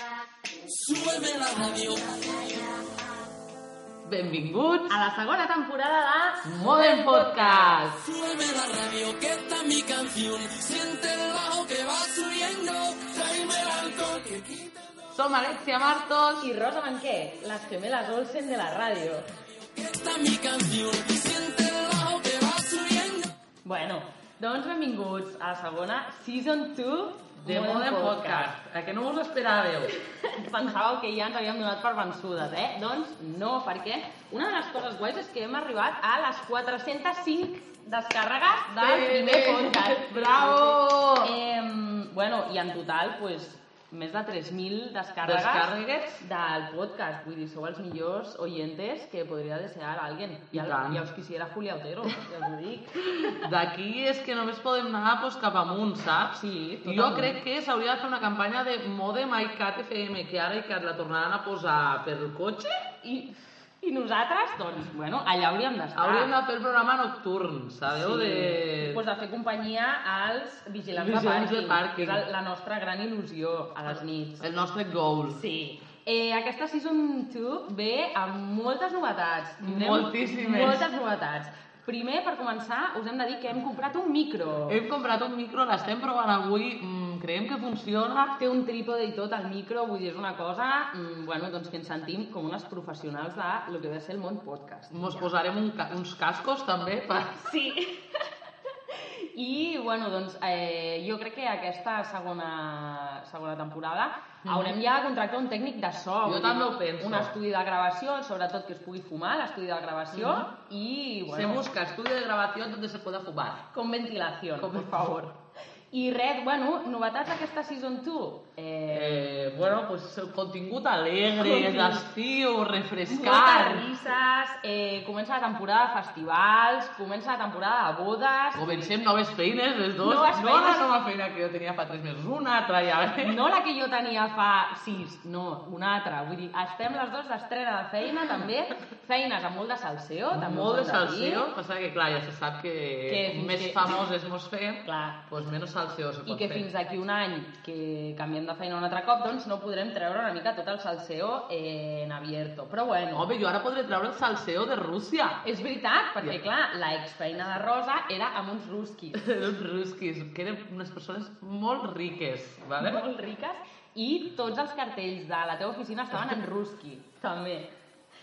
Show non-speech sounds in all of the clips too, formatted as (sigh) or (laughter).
Súbeme la ràdio. Benvinguts a la segona temporada de Modern Podcast. Súbeme la radio, que está mi canción. Siente el bajo que va subiendo. Tráeme el alcohol que quita. Som Alexia Martos i i Rosa Banquer, las gemelas Olsen de la radio. Que está mi canción. Siente el bajo que va subiendo. Bueno, doncs benvinguts a la segona Season 2 de Modern Podcast. A que no us esperàveu? (laughs) Pensàveu que ja ens havíem donat per vençudes, eh? Doncs no, perquè una de les coses guais és que hem arribat a les 405 descàrregues del Bé, primer bé. podcast. Bravo! Eh, bueno, i en total, pues, més de 3.000 descàrregues. Descàrregues. del podcast. Vull dir, sou els millors oyentes que podria desear a alguien. I Ja, tant. ja us quisiera Julia Otero, ja us ho (laughs) dic. D'aquí és que només podem anar pues, cap amunt, saps? Sí, Jo totalment. crec que s'hauria de fer una campanya de Modem iCat FM, que ara iCat la tornaran a posar pel cotxe. I, I nosaltres, doncs, bueno, allà hauríem d'estar. Hauríem de fer el programa nocturn, sabeu? De... Pues de fer companyia als vigilants, Vigilants Eh. de de pàrquing. pàrquing. que És la nostra gran il·lusió a les nits. El nostre goal. Sí. Eh, aquesta Season 2 ve amb moltes novetats. Anem- Moltíssimes. Moltes novetats. Primer, per començar, us hem de dir que hem comprat un micro. Hem comprat un micro, l'estem provant avui, mm, creiem que funciona. Té un trípode i tot al micro, vull dir, és una cosa mm, bueno, doncs que ens sentim com unes professionals de lo que ve a ser el món podcast. Ens posarem un ca uns cascos també per, Sí. (laughs) I, bueno, doncs, eh, jo crec que aquesta segona, segona temporada haurem ja de contractar un tècnic de so. Jo vull dir, també ho penso. Un estudi de gravació, sobretot que es pugui fumar, l'estudi de gravació, i, Bueno. Se bueno, busca estudio de grabación donde se pueda fumar. con ventilació, por favor. I res, bueno, novetats d'aquesta Season 2? Eh, Eh, bueno, pues contingut alegre, Contingut. d'estiu, Moltes refrescar. risses, eh, comença la temporada de festivals, comença la temporada de bodes... Comencem noves feines, les dos. Noves no la feines. nova feina que jo tenia fa tres mesos, una altra ja. eh? No la que jo tenia fa sis, no, una altra. Vull dir, estem les dues d'estrena de feina, també. Feines amb molt de salseo, també. Molt de us hem dir. salseo, passa que clar, ja se sap que, Que que fins més que- famoses mos fem, Clar. pues menys salseo se I pot que fer. fins d'aquí un any que canviem de feina un altre cop, doncs no podrem treure una mica tot el salseo eh, en abierto. Però bueno, Home, jo ara podré treure el salseo de Rússia. (laughs) és veritat, perquè clar, la exfeina de Rosa era amb uns rusquis. Uns rusquis, que eren unes persones molt riques, vale? molt riques i tots els cartells de la teva oficina estaven en rusqui, també.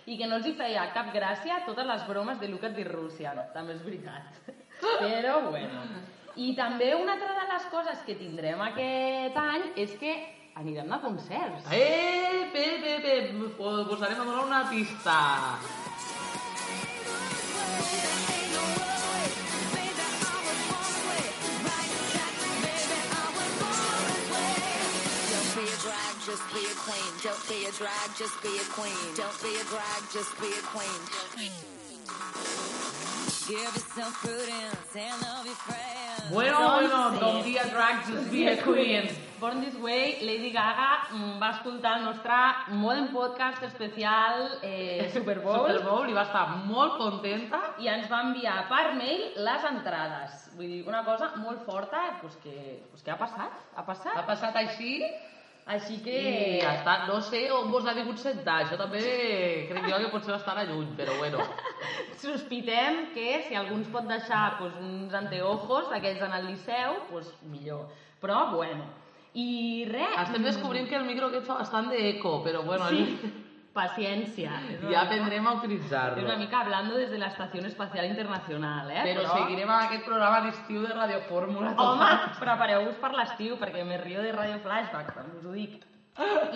I que no els hi feia cap gràcia totes les bromes de Lucas de Rússia, no, també és (laughs) veritat. Però, bueno. I també una altra de les coses que tindrem aquest any és que anirem a concerts. Eh, pe, pe, pe, posarem a donar una pista. Don't be a drag, just be a queen. Don't be a drag, just be a queen. Don't be a drag, just be a queen. Give yourself prudence and love your friends. Bueno, bueno, don't be a drag, just be a queen. Born This Way, Lady Gaga mm, va escoltar el nostre Modern Podcast especial eh, Super Bowl. Super Bowl i va estar molt contenta. i ens va enviar per mail les entrades. Vull dir, una cosa molt forta, doncs que, doncs que ha passat, ha Ha passat. passat així Així que... i ja està. No sé on vos ha vingut sentar. Això també crec jo que potser va estar a lluny, però bueno. Sospitem que si algú ens pot deixar doncs, uns anteojos, aquells en el Liceu, doncs millor. Però, bueno. I res... Estem descobrint que el micro aquest fa bastant d'eco, però bueno, Sí, paciència. És una ja mica- aprendrem a És una utilitzar-lo. mica hablando des de l'Estació Espacial Internacional, eh? Però seguirem amb aquest programa d'estiu de Radio Fórmula. Doncs, Home, prepareu-vos per l'estiu, perquè me rio de Radio Flashback, també us ho dic.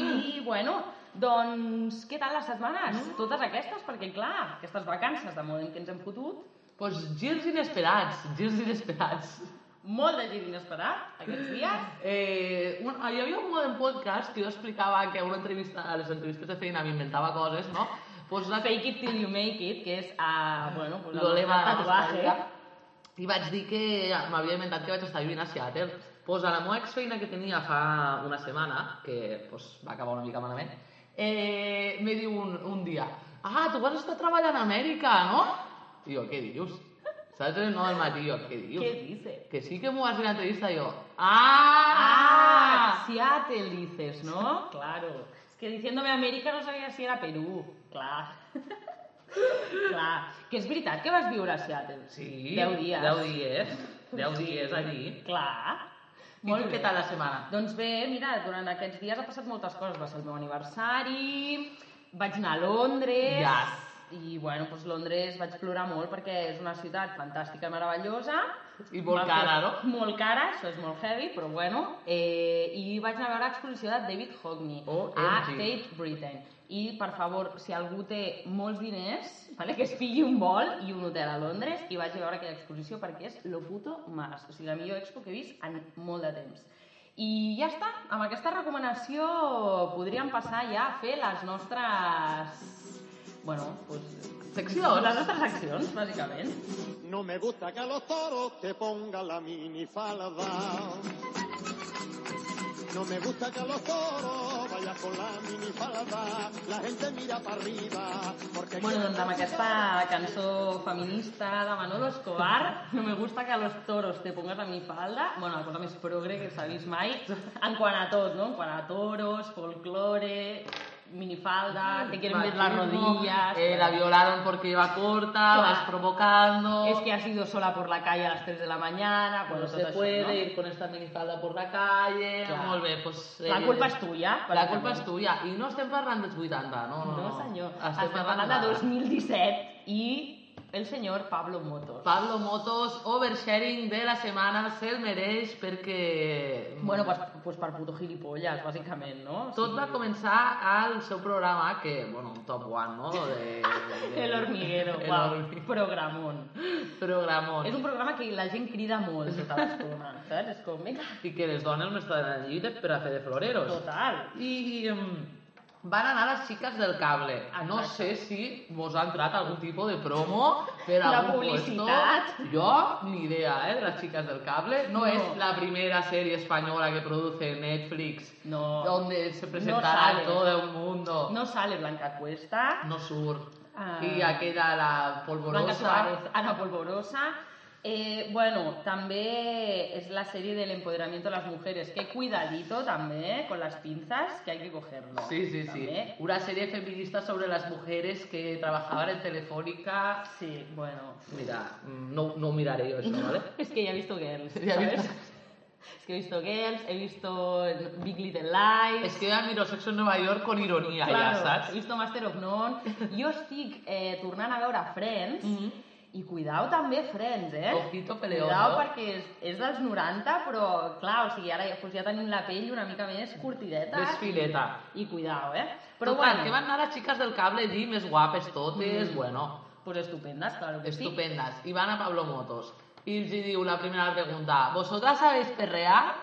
I, bueno, doncs, què tal les setmanes? Mm. Totes aquestes, perquè, clar, aquestes vacances de modem que ens hem fotut, Pues girs inesperats, girs inesperats. molt de gir inesperat aquests dies. Eh, un, hi havia un modern podcast que jo explicava que a una entrevista, a les entrevistes de feina m'inventava coses, no? Pues la Fake it till you make it, que és, uh, bueno, pues, el lo lema de nostre la tatuatge. història. I vaig dir que m'havia inventat que vaig estar vivint a Seattle. Pues a la meva exfeina que tenia fa una setmana, que pues, va acabar una mica malament, eh, me diu un, un dia, ah, tu vas estar treballant a Amèrica, no? I jo, què dius? ¿Sabes el nombre del Matío? ¿Qué digo? ¿Qué dices? Que sí que me vas a hacer una entrevista y yo. ¡Ah! Ah, Seattle dices, ¿no? (laughs) Claro. Es que diciéndome Amèrica no sabia si era Perú. Clar. (laughs) Clar. Que és veritat que vas viure a Seattle? Sí. 10 dies. 10 dies. 10 dies allí. Clar. I tu què tal la setmana? Doncs bé, mira, durant aquests dies ha passat moltes coses. Va ser el meu aniversari, vaig anar a Londres... Yes. I, bueno, doncs Londres vaig plorar molt perquè és una ciutat fantàstica i meravellosa. I molt Va cara, fer- Molt cara, això és molt heavy, però bueno. Eh, I vaig anar a veure l'exposició de David Hockney OMG. a E. Tate Britain. I, per favor, si algú té molts diners, vale, que es pilli un vol i un hotel a Londres i vagi a veure aquella exposició perquè és lo puto más. O sigui, la millor expo que he vist en molt de temps. I ja està, amb aquesta recomanació podríem passar ja a fer les nostres... Bueno, doncs, Seccions. Les nostres accions, bàsicament. No me gusta que a los toros te ponga la minifalda. No me gusta que a los toros vayas con la minifalda. La gente mira para arriba porque... Bueno, doncs amb aquesta cançó feminista de Manolo Escobar, no me gusta que a los toros te pongas la minifalda, bueno, la cosa més progre que s'ha vist mai, en quant a tot, no? En quant a toros, folklore, minifalda, te quieren ver las Machismo, rodillas... eh, la violaron porque iba corta, Claro. vas provocando. Es que has ido sola por la calle a las 3 de la mañana, no cuando se puede ir con esta minifalda por la calle. Clar. Molt bé, doncs, eh, La culpa és tuya. La culpa és tuya. I no estem parlant dels 80, no, no, no. No, senyor. Estem, parlant de de 2017 i el senyor Pablo Motos. Pablo Motos, oversharing de la setmana, se'l mereix perquè... Bueno, pues, pues per puto gilipolles, bàsicament, no? O Tot sigui, va començar al seu programa, que, bueno, un top one, no? De, de- El hormiguero, El uau, hormiguero. programón. Programón. És un programa que la gent crida molt tota l'estona, saps? És com, vinga, I que les dones no estan en la lluita per a fer de floreros. total. I em, van anar les xiques del cable. No sé Exacte. si vos ha entrat algun tipus de promo per a Una algun publicitat. puesto. Jo, ni idea, eh, de les xiques del cable. No, No. es la primera serie española que produce Netflix No. donde se No presentará sale. todo el mundo. No sale Blanca Cuesta, No sur. Ah. I aquella, la Blanca Suárez, polvorosa... Ana Polvorosa. Eh, bueno, també és la sèrie del empoderamiento de las mujeres, que cuidadito també, eh, con las pinzas, que hay que cogerlo. Sí, sí, sí. També. Una serie feminista sobre las mujeres que trabajaban en Telefónica. Sí, bueno. Mira, mm, no, no ho miraré yo eso, (laughs) ¿vale? Es que ya he visto Girls, Ya he ¿sabes? visto. Es que he visto Girls, he visto Big Little Lies... És que jo ja miro Sexo en Nova York con ironia, Claro, ja saps? He vist Master of None. Jo estic eh, tornant a veure Friends, Mhm. i cuidao també Friends, eh? Ojito peleón, Cuidao no? perquè és, és dels 90, però clar, o sigui, ara ja, doncs ja tenim la pell una mica més curtideta. Desfileta. I, I cuidao, eh? Però Total, bueno. que van anar les xiques del cable a dir més guapes totes, Mm. mm. bueno, Pues estupendas, claro que estupendas. I van a Pablo Motos. I els hi diu la primera pregunta, ¿vosotras sabéis perrear?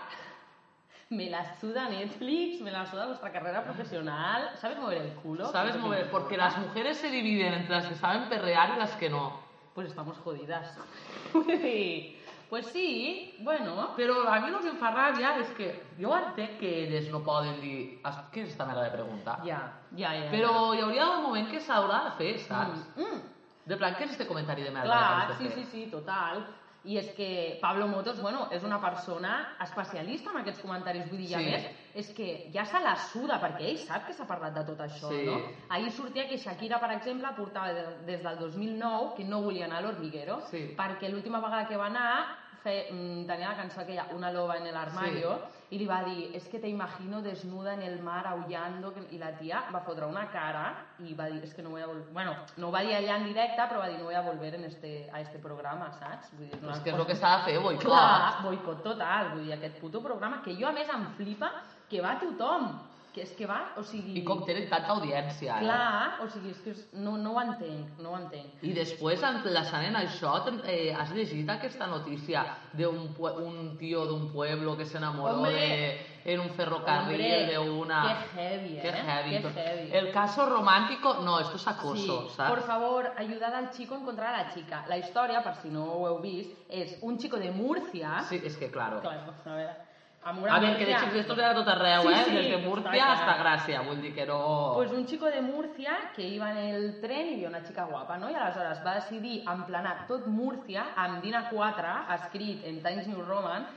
sí. Me la suda Netflix, me la suda vuestra carrera profesional. ¿Sabes mover el culo? Ah. ¿Sabes mover? Porque las mujeres se dividen entre las que saben perrear y las que no. Pues estamos jodidas. (laughs) Ui. pues sí, bueno... Però a mi el que em fa ràbia és que jo entenc que elles no poden dir "Es- què és esta merda de pregunta. Ja, ja, ja. Però hi hauria un moment que s'haurà de fer, saps? Mm, mm. De plan, què és este comentari de merda? que Clar, acabes sí, de fer? sí, sí, total. I és que Pablo Motos, bueno, és una persona especialista en aquests comentaris, vull dir, i a Sí. més, és que ja se la suda, perquè ell sap que s'ha parlat de tot això, Sí. no? Ahir sortia que Shakira, per exemple, portava de- des del 2009 que no volia anar a l'Hormiguero, Sí. perquè l'última vegada que va anar fe, mm, tenia la cançó aquella, Una loba en el armario, i li va dir, es que te imagino desnuda en el mar aullando, que- i la tia va fotre una cara i va dir, es que no voy a volver... Bueno, no ho va dir allà en directe, però va dir, no voy a volver en este, a este programa, saps? Vull dir, És Pues que és el que s'ha de fer, boicot. Clar, boicot total, vull dir, aquest puto programa, que jo a més em flipa que va tothom, que és que va, o sigui... I com tenen tanta audiència. eh? Clar, o sigui, és que és, no, no ho entenc, no ho entenc. I després, enllaçant en això, ten- eh, has llegit aquesta notícia d'un pue- un tio d'un pueblo que s'enamoró Hombre. de, en un ferrocarril Hombre, de una... qué heavy, Qué eh? heavy. Qué heavy. El caso romántico, no, esto es acoso, sí. ¿sabes? Por favor, ayudad al chico a encontrar a la chica. La història, per si no ho heu vist, és un chico de Múrcia... Sí, es que claro. Claro, a veure... amb una A veure, que de música- xics d'estos era tot arreu, Sí, eh? sí, Des de està Múrcia clar. hasta Gràcia, vull dir que no... Pues un chico de Murcia que iba en el tren i vio una chica guapa, no? I aleshores va decidir emplenar tot Murcia amb Dina 4, escrit en Times New Roman,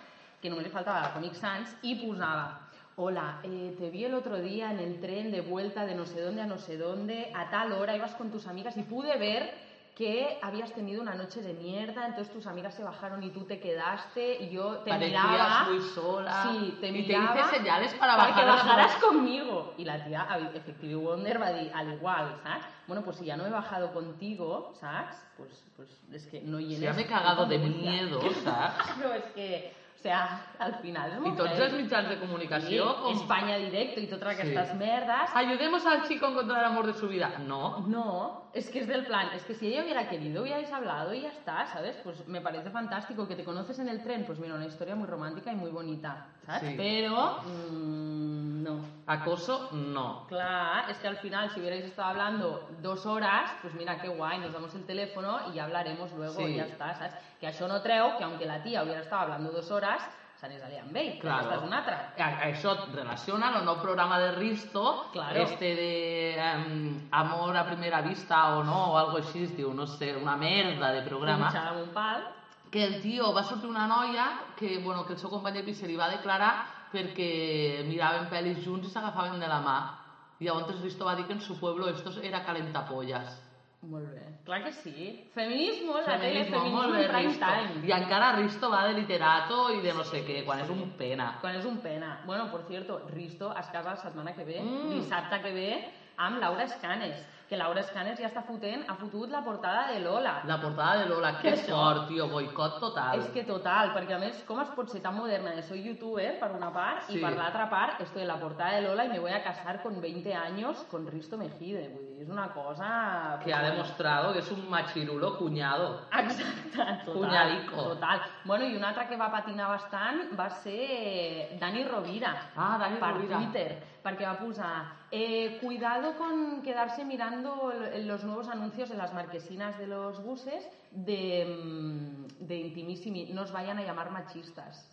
que només li faltava la Comic Sans, i posava Hola, eh, te vi el otro día en el tren de vuelta de no sé dónde a no sé dónde, a tal hora ibas con tus amigas y pude ver que habías tenido una noche de mierda, entonces tus amigas se bajaron y tú te quedaste y yo te Parecías miraba. muy sola. Sí, te Y te miraba. hice señales para bajar que las bajaras dos. conmigo. Y la tía, a- Effective Wonder, va a dir, al igual, ¿sabes? Bueno, pues si ya no he bajado contigo, ¿sabes? Pues, pues es que no llenes... Se me he cagado de ¿eh? Murcia. miedo, saps? Claro, es que, o sea, al final... I tots els mitjans de comunicació... com... Espanya directo i totes aquestes Sí. merdes. Ayudemos al chico a encontrar el amor de su vida. No. No, es que es del plan, es que si ella hubiera querido, hubierais hablado y ya está, ¿sabes? Pues me parece fantástico que te conoces en el tren, pues mira, una historia muy romántica y muy bonita, ¿sabes? Sí. Pero, mm, no. Acoso, no. Claro, es que al final, si hubierais estado hablando dos horas, pues mira qué guay, nos damos el teléfono y ya hablaremos luego Sí. y ya está, ¿sabes? Que això no treu que aunque la tía hubiera estado hablando dos horas, se n'és allà amb ell, Claro. claro. que és una altra. A- Això relaciona el nou programa de Risto, Claro. este de em, amor a primera vista o no, o algo així, es diu, no sé, una merda de programa. Pinxar amb un pal. que el tio va sortir una noia que, bueno, que el seu company de pis se li va declarar perquè miraven pel·lis junts i s'agafaven de la mà. I llavors Risto va dir que en su pueblo esto era calentapollas. Molt bé. Clar que sí. Feminismo, la tele, Feminismo, feminismo molt en bé, prime Risto. time. I encara Risto va de literato i de no sé què, quan és un pena. Quan és un pena. Bueno, por cierto, Risto es casa la setmana que ve, Mm. mm. dissabte que ve, amb Laura Escanes. Que Laura Escanes ja està fotent, ha fotut la portada de Lola. La portada de Lola, que Que això- sort, tio, boicot total. És que total, perquè a més, com es pot ser tan moderna de soy youtuber, per una part, Sí. i per l'altra part, estoy en la portada de Lola y me voy a casar con 20 años con Risto Mejide. Vull dir, és una cosa... que ha demostrado que és un machirulo cuñado. (laughs) Exacte, total. Cuñadico. Total. Bueno, i un altre que va patinar bastant va ser Dani Rovira. Ah, Dani per Rovira. Twitter, perquè va posar eh, cuidado con quedarse mirando el- los nuevos anuncios en las marquesinas de los buses de, mm, de Intimissimi, no os vayan a llamar machistas.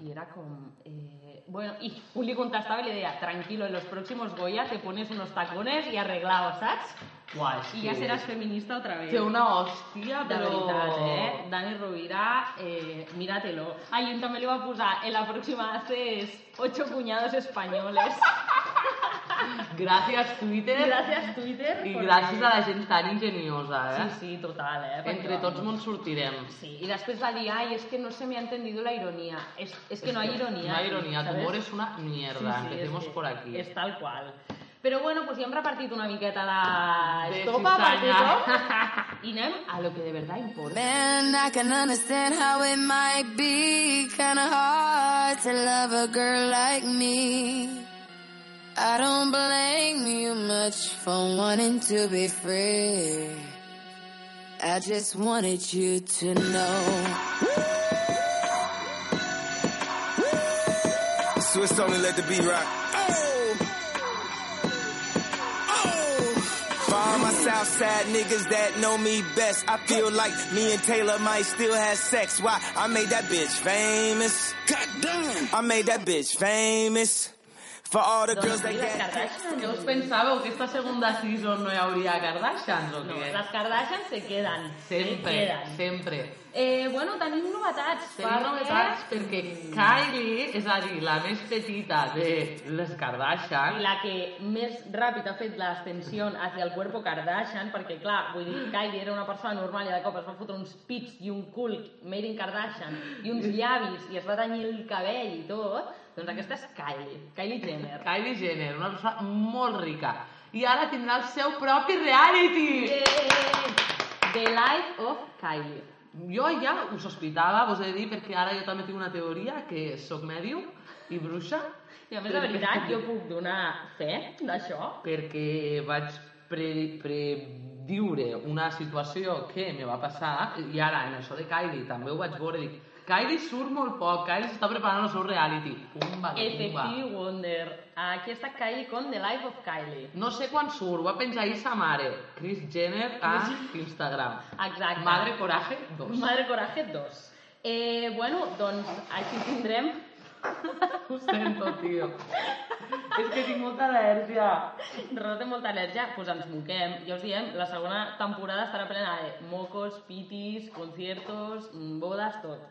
Y era con... eh, bueno, y Juli contestaba y le decía, tranquilo, en los próximos Goya te pones unos tacones y arreglaos, ¿sabes? Guai, Y ya serás feminista otra vez. Té una hòstia, De però... veritat, eh? Dani Rovira, eh, míratelo. Ai, un també li va posar, en la próxima haces ocho cuñados españoles. Gràcies, Twitter. (laughs) Gràcies, Twitter. I por- gràcies a la gent tan ingeniosa, eh? Sí, sí, total, eh? Perquè, Entre tots vamos, mons sortirem. Sí, y después va dir, ai, es que no se me ha entendido la ironía. Es, es que no hay ironía. No hay ironía, tu ¿sabes? humor es una mierda. Sí, sí, Empecemos es que por aquí. És tal qual. Però bueno, pues ja hem repartit una miqueta de De estopa per cizaña. (laughs) tothom i anem a lo que de verdad importa. Man, I can understand how it might be kinda hard to love a girl like me. I don't blame you much for wanting to be free. I just wanted you to know. Swiss only let the beat rock. Oh. For all my Southside niggas that know me best, I feel like me and Taylor might still have sex. Why? I made that bitch famous. God damn. I made that bitch famous. For all the girls Doncs that sí, les got. Kardashian. Què us pensàveu? Que esta segunda season no hi hauria Kardashians o No, què? les Kardashian se queden. Eh, Sempre, Se queden. sempre. Eh, bueno, tenim novetats. Tenim perquè- novetats perquè Kylie, és a dir, la més petita de les I Kardashian, la que més ràpid ha fet l'ascensió hacia el cuerpo Kardashian, perquè, clar, vull dir, Kylie era una persona normal i de cop es va fotre uns pits i un cul made in Kardashian i uns llavis i es va danyar el cabell i tot, doncs aquesta és Kylie, Kylie Jenner. (laughs) Kylie Jenner, una persona molt rica. I ara tindrà el seu propi reality! Yeah! The Life of Kylie. Jo ja ho sospitava, vos he de dir, perquè ara jo també tinc una teoria que sóc mèdium i bruixa. I a més, de veritat, jo puc donar fe d'això, perquè vaig pre- prediure una situació que me va passar i ara en això de Kylie també ho vaig veure dic, Kylie surt molt poc, Kylie s'està preparant el seu reality pumba, que pumba Effective Wonder. Aquí està Kylie con The Life of Kylie. no sé quan surt, ho va penjar ahir sa mare Chris Jenner a Instagram Exacte. Madre Coraje 2 Madre Coraje 2. Eh, bueno, doncs així tindrem Ho sento, (laughs) tio. És que tinc molta al·lèrgia. Rosó té molta al·lèrgia, doncs pues ens moquem. Ja us diem, la segona temporada estarà plena de mocos, pitis, conciertos, mm, bodes, tot.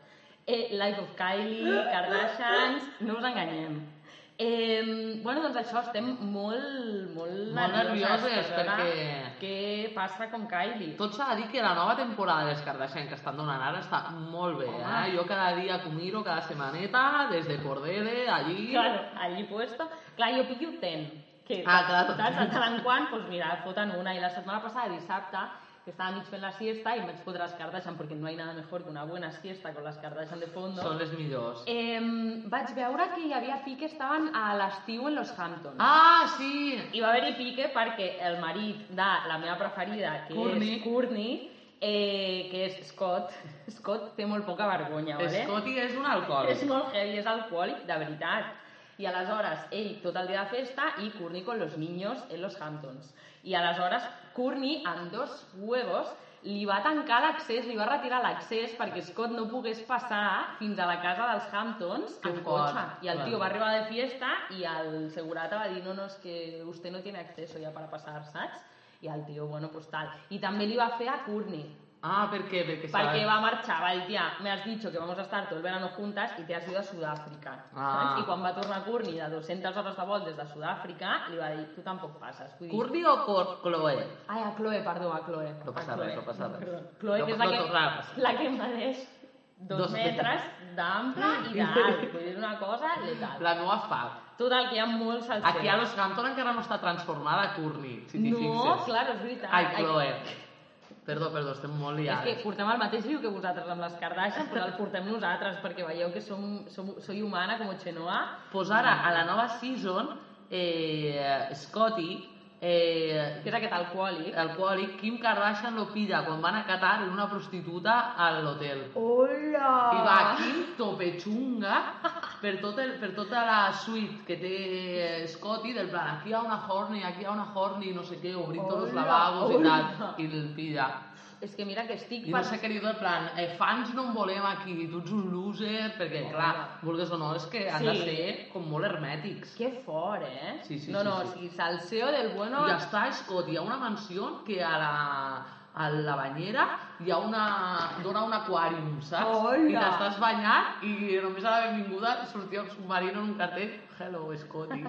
Eh, Life of Kylie, Kardashians, no us enganyem. Eh, bueno, doncs això, estem molt, molt, Molt nervioses, per veure perquè- Què passa com Kylie? Tot s'ha de dir que la nova temporada de les Kardashian que estan donant ara està molt bé, Home. eh? Jo cada dia comiro, cada setmaneta, des de Cordere, allí... Claro, allí puesto. Clar, jo pillo ten. Que, Ah, claro. Saps? De tant en quant, doncs mira, foten una. I la setmana passada, dissabte, que estava mig fent la siesta i em vaig fotre les Kardashian perquè no hi ha nada mejor que una buena siesta con las Kardashian de fondo. Són les millors. Eh, vaig veure que hi havia fi que estaven a l'estiu en Los Hamptons. Ah, sí! I va haver-hi pique perquè el marit de la meva preferida, que Courtney. és Courtney, eh, que és Scott, (laughs) Scott té molt poca vergonya, vale? Scotty és un alcohòlic. És molt heavy, és alcohòlic, de veritat. I aleshores, ell tot el dia de festa i Courtney con los niños en los Hamptons. I aleshores, Courtney, amb dos huevos, li va tancar l'accés, li va retirar l'accés perquè Scott no pogués passar fins a la casa dels Hamptons Que en fort. cotxe. I el tio Clar. va arribar de fiesta i el segurata va dir no, no, és que usted no tiene acceso ya para pasar, saps? I el tio, bueno, pues tal. I també li va fer a Courtney, Ah, per què? Perquè, Porque sabe- va a marchar, va el tía, me has dicho que vamos a estar todo el verano juntas y te has ido a Sudáfrica. Ah. ¿sabes? I quan va tornar Courtney de 200 hores de vol des de Sud-àfrica, li va dir, tu tampoc passes. Vull dir, Courtney o Cor Chloe? Ai, a Chloe, perdó, a Chloe. No passa A Chloe. res, no passa res. Perdó. Chloe, No- que és la, no tornarà a que, passar. la que mereix dos, Dos metres d'ample i d'alt. Vull dir, una cosa letal. La meva fa. Total, que hi ha molts al Aquí a Los Hamptons encara no està transformada Courtney, si t'hi No, fixes. clar, és veritat. Ai, Chloe. Perdó, perdó, estem molt És que liades. portem el mateix viu que vosaltres amb les Kardashian, però el portem nosaltres, perquè veieu que som, som, soy humana, com Chenoa. Pues ara, a la nova season, eh, Scotty, eh, que és aquest alcohòlic. alcohòlic, Kim Kardashian lo pilla quan van a Qatar en una prostituta a l'hotel. Hola! I va aquí topechunga per, tot el, per tota la suite que té eh, Scotty del plan aquí hi ha una horny, aquí hi ha una horny, no sé què, obrint tots els Hola, lavabos i hola. tal, i el pilla. És que mira que estic... I no sé què li diu, en plan, eh, fans no en volem aquí, tu ets un loser, perquè, clar, vulgues o no, és que han Sí. de ser com molt hermètics. Que fort, eh? Sí, sí, no, sí, no, sí. o sigui, salseo del bueno... I està Scott, hi ha una mansió que a la, a la banyera hi ha una... dona un aquàrium, saps? Hola! I t'estàs banyant i només a la benvinguda sortia un submarino en un cartell Hello, Scotty. (laughs)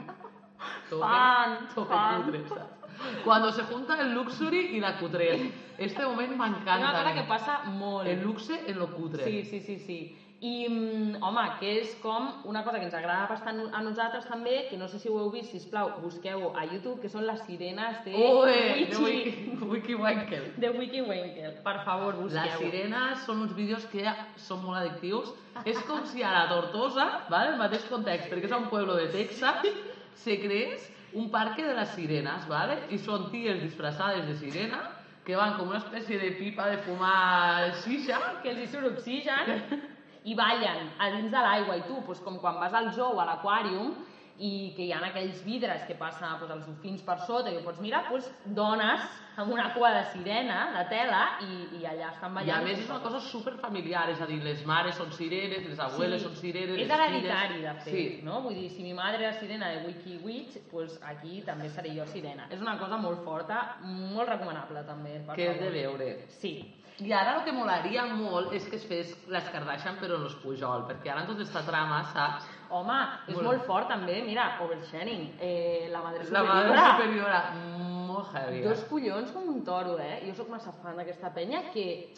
Tope, Fan, tope fan. cutre, saps? Cuando se junta el luxury i la cutrez. Este moment És m'encanta. una cosa a mi. que passa molt. eh? El luxe en lo cutre. Sí, sí, sí, sí. I, mm, home, que és com una cosa que ens agrada bastant a nosaltres també, que no sé si ho heu vist, sisplau, busqueu a YouTube, que són les sirenes de Ué, de Wiki, Wiki, Wiki Wankel. de Wiki Wankel. Per favor, busqueu. Les sirenes són uns vídeos que són molt addictius. És com si a la Tortosa, ¿vale? el mateix context, perquè és un pueblo de Texas, se creés un parque de les sirenes, ¿vale? i són ties disfressades de sirena que van com una espècie de pipa de fumar xixa que els hi surt oxigen i ballen a dins de l'aigua i tu, doncs, com quan vas al zoo a l'aquàrium i que hi ha aquells vidres que passen doncs, els dofins per sota i ho pots mirar, doncs, dones amb una cua de sirena, de tela, i, i allà i estan a ballant. més és una cosa super familiar, és a dir, les mares són sirenes, les abueles són sirenes, És les hereditari, de filles- fet, Sí, no? Vull dir, si mi madre era sirena de Wiki Witch, doncs aquí també seré jo sirena. És una cosa molt forta, molt recomanable, també. per que és de favor. veure. Sí, I ara el que molaria molt és que es fes les Kardashian però en los Pujol, perquè ara en tota esta trama, saps? Home, és Bueno. molt fort també, mira, oversharing, eh, la madre La superiora. madre superiora, molt heavy. eh? Dos collons com un toro, eh? Jo sóc massa fan d'aquesta penya que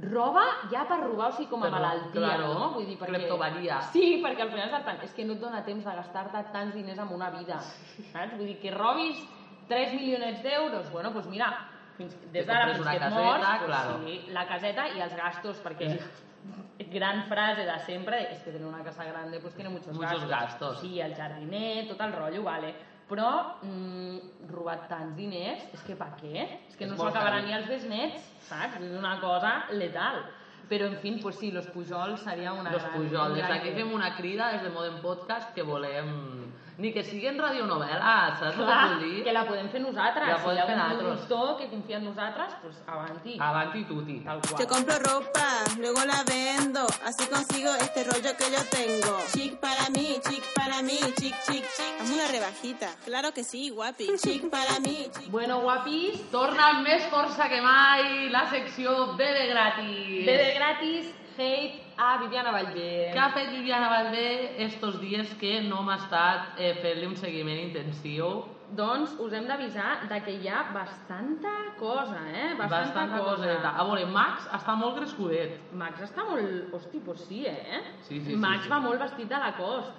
roba ja per robar, o sigui, com a Però, malaltia, claro, no? Vull dir, perquè... cleptomania. Sí, perquè al final és el tant. És que no et dona temps de gastar-te tants diners en una vida, saps? Vull dir, que robis 3 milionets d'euros, bueno, doncs mira, fins, des Te d'ara compres fins una que et caseta, mors, doncs claro. Eh. sí, la caseta i els gastos, perquè (laughs) gran frase de sempre, és que tener una casa grande pues tiene muchos, Muchos gastos. Sí, el jardiner, tot el rotllo, vale. Però mm, robar tants diners, és que per què? És que És no s'ho molt acabaran cari. ni els besnets, saps? És una cosa letal. Però, en fin, pues sí, los Pujol seria una Los gran... Pujol, un des gran d'aquí idea. fem una crida des de Modem Podcast que volem... Ni que siguin radionovel·les, saps el que Clar, vull dir? que la podem fer nosaltres. La podem si hi ha fer un nosaltres. Ah. productor que confia en nosaltres, pues avanti. Avanti tutti. Tal Yo qual. compro ropa, luego la vendo, así consigo este rollo que yo tengo. Chic para mí, chic para mí, chic, chic, chic. Hazme una rebajita. Claro que sí, guapi. Chic para mí, chic. Bueno, guapis, Torna amb més força que mai la secció Bebe Gratis. bebe gratis, hate a Viviana Vallvé. Què ha fet Viviana Valdé estos dies que no m'ha estat eh, fer-li un seguiment intensiu? Doncs us hem d'avisar de que hi ha bastanta cosa, eh? Bastanta, Bastanta coseta. A veure, Max està molt crescudet. Max està molt... Hosti, pues sí, eh? Sí, sí, sí, Max sí. va molt vestit de la cost.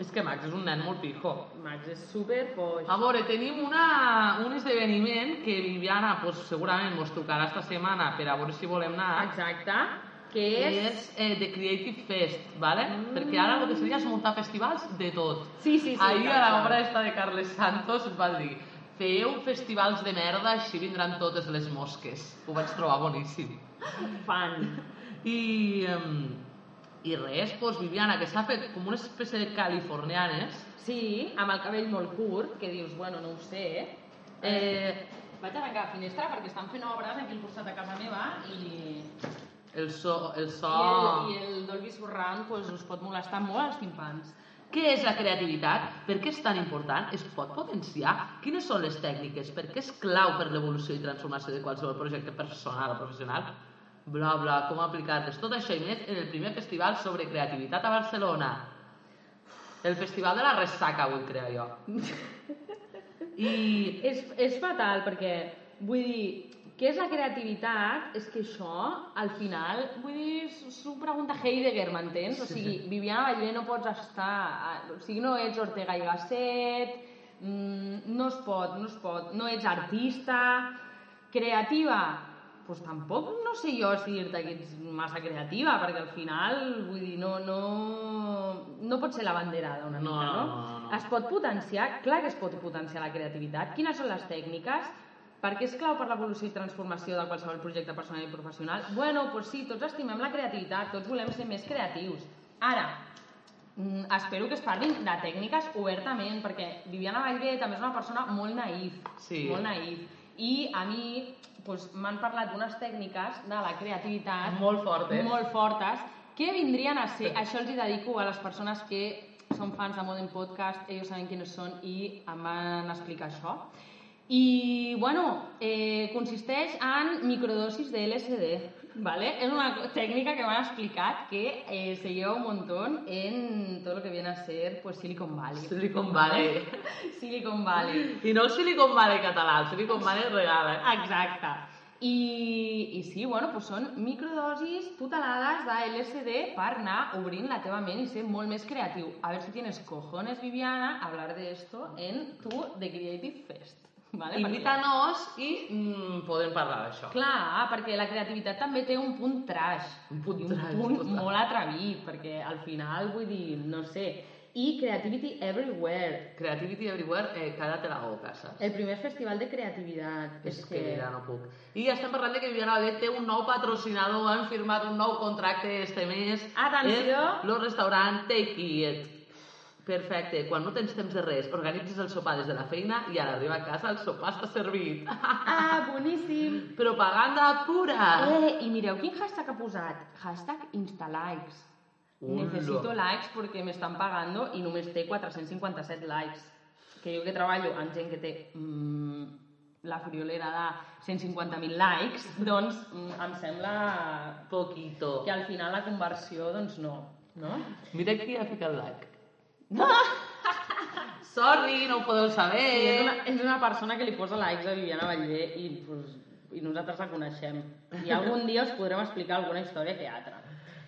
És que Max és un nen molt pijo. Max és super poix. A veure, tenim una, un esdeveniment que Viviana pues, segurament ens trucarà esta setmana per a veure si volem anar. Exacte, que Que és... és eh, The Creative Fest, ¿vale? Mm. Perquè ara el que seria és muntar festivals de tot. Sí, sí, sí. Ahir a exacte. l'obra esta de Carles Santos va dir feu festivals de merda, així vindran totes les mosques. Ho vaig trobar boníssim. Fan. I, em, i res, doncs, Viviana, que s'ha fet com una espècie de californianes. Sí, amb el cabell molt curt, que dius, bueno, no ho sé. Eh, vaig a tancar la finestra perquè estan fent obres aquí al costat de casa meva i, El so... El so... i, el, i el Dolby Surround pues, us pot molestar molt als timpans. Què és la creativitat? Per què és tan important? Es pot potenciar? Quines són les tècniques? Per què és clau per l'evolució i transformació de qualsevol projecte personal o professional? Bla, bla, com aplicar-les? Tot això i més en el primer festival sobre creativitat a Barcelona. El festival de la ressaca vull crear jo. I És, és fatal perquè, vull dir, què és la creativitat? És que això, al final, vull dir, s'ho- s'ho pregunta Heidegger, m'entens? O sigui, Viviana Vallé no pots estar... a- O sigui, no ets Ortega i Gasset, mm, no es pot, no es pot, no ets artista, creativa, doncs tampoc no sé jo si dir-te que ets massa creativa, perquè al final, vull dir, no, no, no pot ser la banderada una No, mica, no? no, no, no. Es pot potenciar, clar que es pot potenciar la creativitat. Quines són les tècniques? Perquè és clau per l'evolució i transformació de qualsevol projecte personal i professional. Bueno, doncs sí, tots estimem la creativitat, tots volem ser més creatius. Ara, mm, espero que es parlin de tècniques obertament, perquè Viviana Vallvé també és una persona molt naïf, Sí. molt naïf. I a mi doncs, m'han parlat d'unes tècniques de la creativitat Molt fortes. molt eh? fortes que vindrien a ser, això els hi dedico a les persones que són fans de Modern Podcast, ells saben quines són i em van explicar això. I, bueno, eh, consisteix en microdosis de LSD, ¿vale? És una tècnica que m'han explicat que eh, se lleva un montón en tot lo que viene a ser pues, Silicon Valley. Silicon Valley. (laughs) Silicon Valley. I no el Silicon Valley català, el Silicon Valley real, eh? Exacte. I, I sí, bueno, doncs són microdosis tutelades de LSD per anar obrint la teva ment i ser molt més creatiu. A ver si tienes cojones, Viviana, a hablar de esto en tu The Creative Fest. Vale? Perquè- Invita-nos i mm, podem parlar d'això. Clar, perquè la creativitat també té un punt trash. Un punt I trash, Un punt total. molt atrevit, perquè al final, vull dir, no sé... I Creativity Everywhere, Creativity Everywhere, eh, queda't a la boca, saps? el primer festival de creativitat. És que ja no puc. I estem parlant de que Viviana Vallet té un nou patrocinador, han firmat un nou contracte este mes. Atenció. És el restaurant Take It. Perfecte, quan no tens temps de res, organitzes el sopar des de la feina i a l'arribar a casa el sopar està servit. (laughs) Ah, boníssim! Propaganda pura! Eh, I mireu quin hashtag ha posat. Hashtag instalikes. Hola. Necessito likes perquè m'estan pagando i només té 457 likes. Que jo que treballo amb gent que té mm, la friolera de 150.000 likes, doncs mm, em sembla Poquito. que al final la conversió doncs no, no? Mira qui ha ficat like. Sorry, no ho podeu saber. I és una, és una persona que li posa likes a Viviana Vallvé i, pues, i nosaltres la coneixem. I algun dia us podrem explicar alguna història que altra.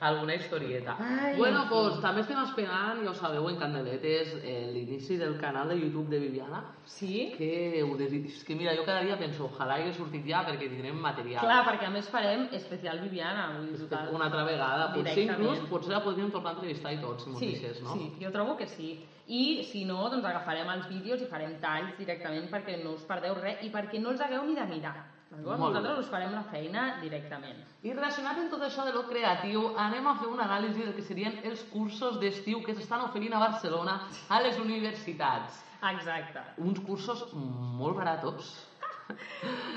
alguna historieta. Ai, bueno, en fi. pues, també estem esperant, ja ho sabeu, en Candeletes, eh, l'inici del canal de YouTube de Viviana, Sí? que ho desig... És que mira, jo cada dia penso, ojalà hagués sortit ja perquè tindrem material. Clar, perquè a més farem especial Viviana, vull dir, total. Una altra vegada, potser Directament. inclús, potser la podríem tornar a entrevistar i tot, si m'ho Sí, deixes, no? sí, jo trobo que sí. I si no, doncs agafarem els vídeos i farem talls directament perquè no us perdeu res i perquè no els hagueu ni de mirar. D'acord? Molt bé. Nosaltres us farem la feina directament. I relacionat amb tot això de lo creatiu, anem a fer una anàlisi del que serien els cursos d'estiu que s'estan oferint a Barcelona a les universitats. Exacte. Uns cursos molt baratos,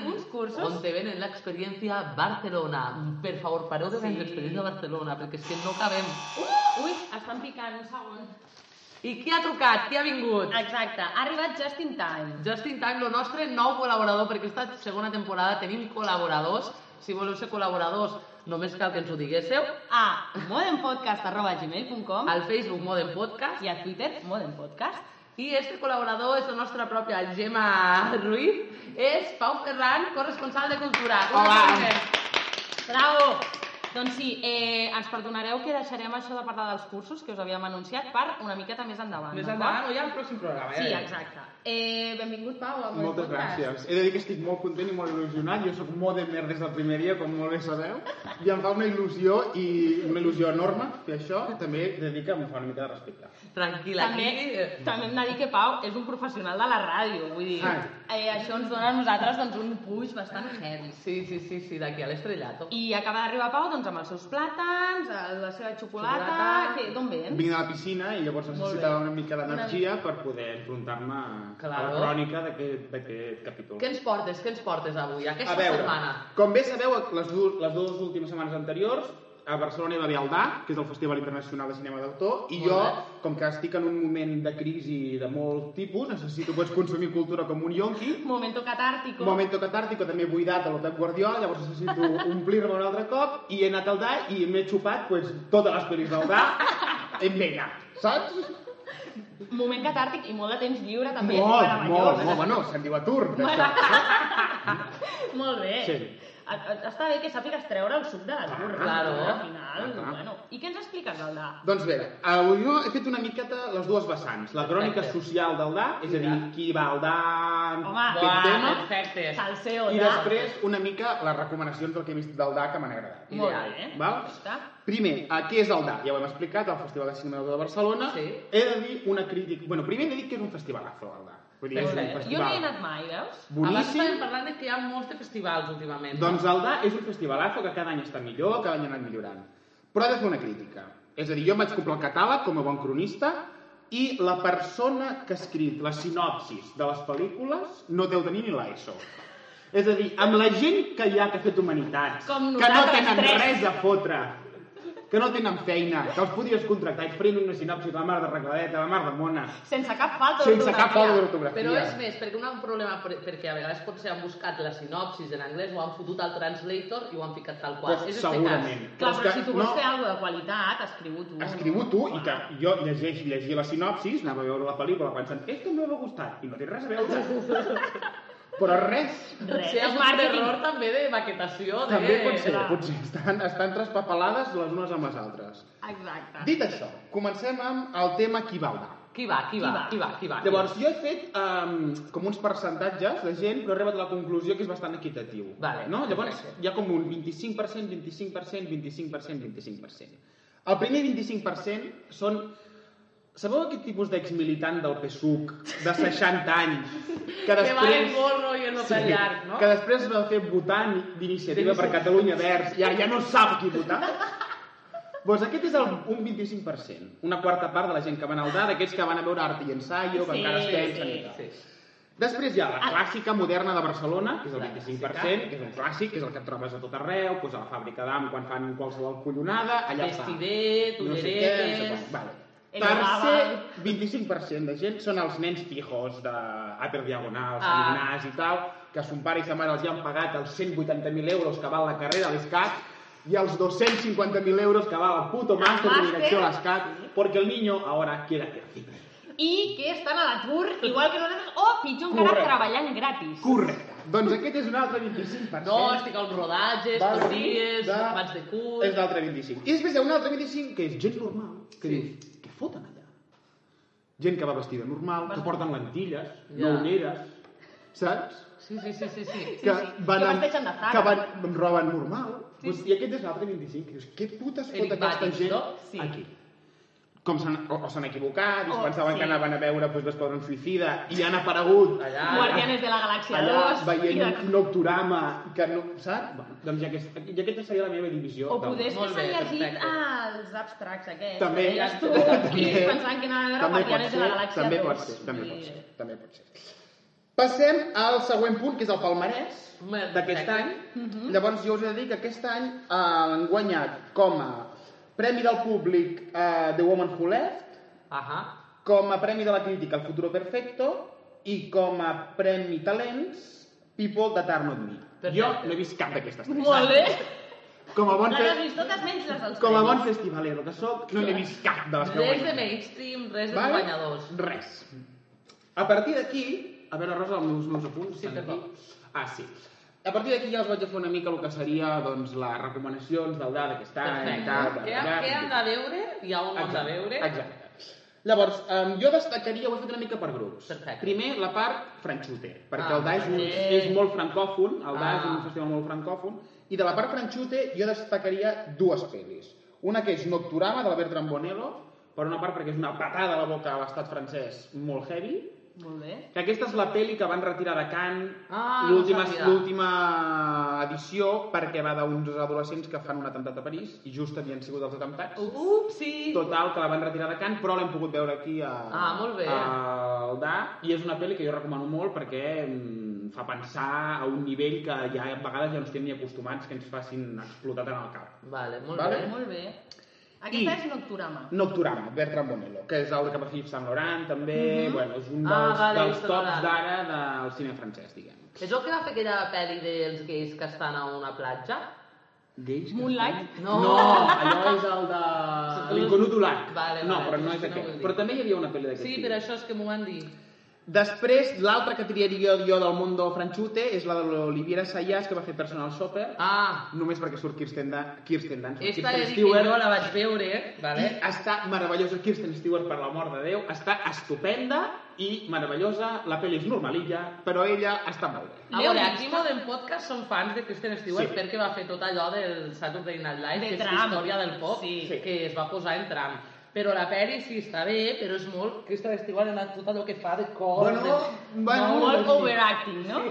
Uns cursos... on te venen l'experiència Barcelona. Per favor, pareu de vendre Sí. l'experiència de Barcelona, perquè és que no cabem. Ui, estan picant un segon. I qui ha trucat? Qui ha vingut? Exacte, ha arribat just in time. Justin Time, el nostre nou col·laborador, perquè esta segona temporada tenim col·laboradors. Si voleu ser col·laboradors, només cal que ens ho diguéssiu. A modempodcast.gmail.com Al Facebook Modem Podcast. i a Twitter modempodcast. I este col·laborador és la nostra pròpia Gemma Ruiz, és Pau Ferran, corresponsal de Cultura. Un Hola. aplaudiment. Bravo! Doncs sí, eh, ens perdonareu que deixarem això de parlar dels cursos que us havíem anunciat per una miqueta més endavant. Més d'acord? endavant, o ja al pròxim programa. Ja Sí, veurem. exacte. Eh, benvingut, Pau. a Modem Moltes Podcast. gràcies. He de dir que estic molt content i molt il·lusionat. Jo sóc molt de mer des del primer dia, com molt bé sabeu. I em fa una il·lusió, i una il·lusió enorme, i això també he de dir que em fa una mica de respecte. Tranquil·la. També, aquí, eh, també hem de dir que Pau és un professional de la ràdio, vull dir, Ai. Ah. eh, això ens dona a nosaltres doncs, un puix bastant heavy. Sí, sí, sí, sí, d'aquí a l'estrellato. I acaba d'arribar Pau doncs, amb els seus plàtans, el- la seva xocolata... Xocolata. Que- D'on ven? Vinc de la piscina i llavors necessitava una mica d'energia per poder enfrontar-me a la Claro. crònica d'aquest d'aquest capítol. Què ens portes, què ens portes avui, aquesta A veure, setmana? com bé sabeu, les, du- les dues últimes setmanes anteriors, a Barcelona hi va haver el DA, que és el Festival Internacional de Cinema d'Autor, i Molt jo, bé. com que estic en un moment de crisi de molt tipus, necessito pues, consumir cultura com un yonqui, Momento catártico. momento catàrtico, també buidat a lo Pep Guardiola, llavors necessito omplir-me un altre cop, i he anat al DA i m'he xupat pues, totes les pel·lis del DA en vena, saps? Moment catàrtic i molt de temps lliure també. molt, Meravellós. molt, molt, bueno, se'n diu atur, d'això. Molt bé. Sí. A- a- Està bé que sàpigues treure el suc de les burres. claro. Al final, Ah, clar. bueno. I què ens expliques, Aldà? Doncs bé, avui jo he fet una miqueta les dues vessants. La crònica Perfecte. social del DA, és a dir, qui va al DA, Home, aquest buah, tema, perfecte. Salseo, i ja. després una mica les recomanacions del que he vist del DA que m'han agradat. Molt Ideal, bé. val? Ja Està. Primer, a què és el DA? Ja ho hem explicat, al Festival de Cinema de Barcelona. Sí. He de dir una crítica... Bueno, primer he de dir que és un festival afro, el DA. Vull dir, és un Molt bé. Jo no festival hi he anat mai, veus? Abans estàvem boníssim. parlant de que hi ha molts de festivals últimament. Doncs el DA és un festival afro que cada any està millor, cada any ha anat millorant. Però he de fer una crítica. És a dir, jo em vaig comprar el catàleg com a bon cronista i la persona que ha escrit la sinopsis de les pel·lícules no deu tenir ni l'ESO. És a dir, amb la gent que hi ha que ha fet humanitats, Com que no nosaltres tenen tres. res a fotre, que no tenen feina, que els podies contractar i et farien una sinopsis la mar de regladeta, la mar de mona, Sense cap falta sense cap d'ortografia. pau d'ortografia. Però és més, perquè un altre problema, per- perquè a vegades potser han buscat la sinopsis en anglès o han fotut al translator i ho han ficat tal qual. Pues és Doncs segurament. Este Clar, Però és però que si tu vols no- fer alguna de qualitat, escriu-ho tu. escriu tu i que jo llegeix, llegia la sinopsis, anava a veure la pel·lícula pensant és que m'ha gustat i no té res (laughs) a veure però res cas. Res, Si hi ha és hagut un màrqueting. error també de maquetació. De... també pot ser, clar. potser estan, estan traspapelades les unes amb les altres Exacte. dit això, comencem amb el tema qui va anar Qui va, qui va, Qui va? qui va, qui va. llavors jo he fet um, com uns percentatges de gent però he arribat a la conclusió que és bastant equitatiu Vale, no? llavors perfecte. hi ha com un 25%, 25%, 25%, 25% el primer 25% són Sabeu aquest tipus d'exmilitant del PSUC de 60 anys que Que va el després... gorro i el sí. llarg, no? Que després es va fer votant d'iniciativa per Catalunya Verds i ara ja no sap qui votar. doncs aquest és el, un 25%, una quarta part de la gent que van al DA, d'aquests que van a veure Arte i Ensayo, que Sí, encara es pensen sí, Ah. i tal. Sí. Després hi ha la clàssica moderna de Barcelona, que és el La 25%, que és un clàssic, que és el que et trobes a tot arreu, doncs a la fàbrica d'am quan fan qualsevol collonada, allà està. Vestidet, No sé què, no sé ulleretes... com. Vale. El Tercer Nadal. 25% de gent són els nens pijos de Upper Diagonal, Sant Ah. Ignàs i tal, que son pare i sa mare els hi han pagat els 180.000 euros que val la carrera a l'ESCAC i els 250.000 euros que val el puto màster de màster. direcció a l'ESCAC, porque el niño ahora quiere hacer cine. I que estan a l'atur, igual que nosaltres, o pitjor encara, Correcte. treballant gratis. Correcte. Doncs aquest és un altre 25%. No, estic als rodatges, Val a tots dir dies, de- vaig de cul... És l'altre 25. I després hi ha un altre 25 que és gent normal, que Sí. sí. diu, què foten allà? Gent que va vestida normal, que porten lentilles, Ja. no ulleres, saps? Sí, sí, sí, sí, sí. sí. Que, Que amb- vesteixen de Zara. que van amb roba Doncs, normal. Sí. I aquest és l'altre 25, que dius, què putes fot Eric aquesta Batis, gent no? Sí. aquí? com s'han o, o s'han equivocat, i es O- pensaven sí. que anaven a veure pues, l'Esquadron Suïcida i han aparegut allà, Guardianes de la Galàxia allà 2. i veient de- un nocturama que no... Saps? Bueno, doncs ja, aquest, ja aquesta seria la meva divisió. O del- poder ser que Molt s'han bé, llegit perfecte. els abstracts aquests. També. que deies (laughs) tu, També. i pensaven que anaven a veure també pot Guardianes ser, de la Galàxia doncs, també 2. pot ser, també I- pot ser, també pot ser. Passem al següent punt, que és el palmarès Bé, d'aquest any. perfecte. Mhm. Llavors, jo us he de dir que aquest any eh, han guanyat com a Premi del Públic eh, The Woman Who Left, Ahà. com a Premi de la Crítica El Futuro Perfecto i com a Premi Talents People That Are Not Me. Perfecte. Jo no he vist cap d'aquestes tres. Molt bé. Com a bon, Les has fe... vist totes menys les dels com a bon premis. festivalero que sóc, no n'he vist cap de les que Res de guanyen. mainstream, res de Vale? guanyadors. Res. A partir d'aquí... A veure, Rosa, els meus, meus apunts sí, aquí. Ah, sí. A partir d'aquí ja us vaig a fer una mica el que seria doncs, les recomanacions del DA d'aquest any. Perfecte. tal, tal, Què, tal, què tal. hem de veure? Hi ha un món de veure. Exacte. Llavors, um, jo destacaria, ho he fet una mica per grups. Perfecte. Primer, la part franxuter, perquè Ah, el DA és, un, sí. és molt francòfon, el DA és Ah. un festival molt francòfon, i de la part franxuter jo destacaria dues pel·lis. Una que és Nocturama, de la Bertram Bonello, per una part perquè és una patada a la boca a l'estat francès molt heavy, Molt bé. que aquesta és la pel·li que van retirar de Cannes Ah, l'última no sabia. l'última edició perquè va d'uns adolescents que fan un atemptat a París i just havien sigut els atemptats Upsi! Total, que la van retirar de Cannes, però l'hem pogut veure aquí a, Ah, molt bé. al DA, i és una pel·li que jo recomano molt perquè mm, fa pensar a un nivell que ja a vegades ja no estem ni acostumats que ens facin explotar tant al cap. Vale, molt Vale. bé. Molt bé. Aquesta és Nocturama. Nocturama, Bertram Bonello, que és el que va fer Yves Saint Laurent, també, bueno, és un Ah, dels, vale, dels Yves Saint tops Laurent. d'ara del cine francès, diguem. És el que va fer aquella pel·li dels gais que estan a una platja? Gais? Moonlight? No, allò és el de... L'inconut Dulac. Vale, no, vale, però no sí, és sí, no aquest. vull dir. però també hi havia una pel·li d'aquest Sí, tipus. per això és que m'ho van dir. Després, l'altra que triaria jo del món del franxute és la de l'Oliviera Sayas, que va fer Personal Shopper, Ah, només perquè surt Kirsten, da Kirsten Dunst. esta he Kirsten de dir que jo la vaig veure, vale? i està meravellosa Kirsten Stewart, per l'amor de Déu, està estupenda i meravellosa, la pel·li és normalilla, però ella està molt bé. A L'heu veure, vist? Ah, aquí molt en podcast són fans de Kristen Stewart Sí. perquè va fer tot allò del Saturday Night Live, De que és Trump. història del pop, Sí. que es va posar en tram. Però la peli sí està bé, però és molt Kristen Stewart en tot allò que fa de cor. Bueno, de... bueno, no, Molt sí. overacting, no?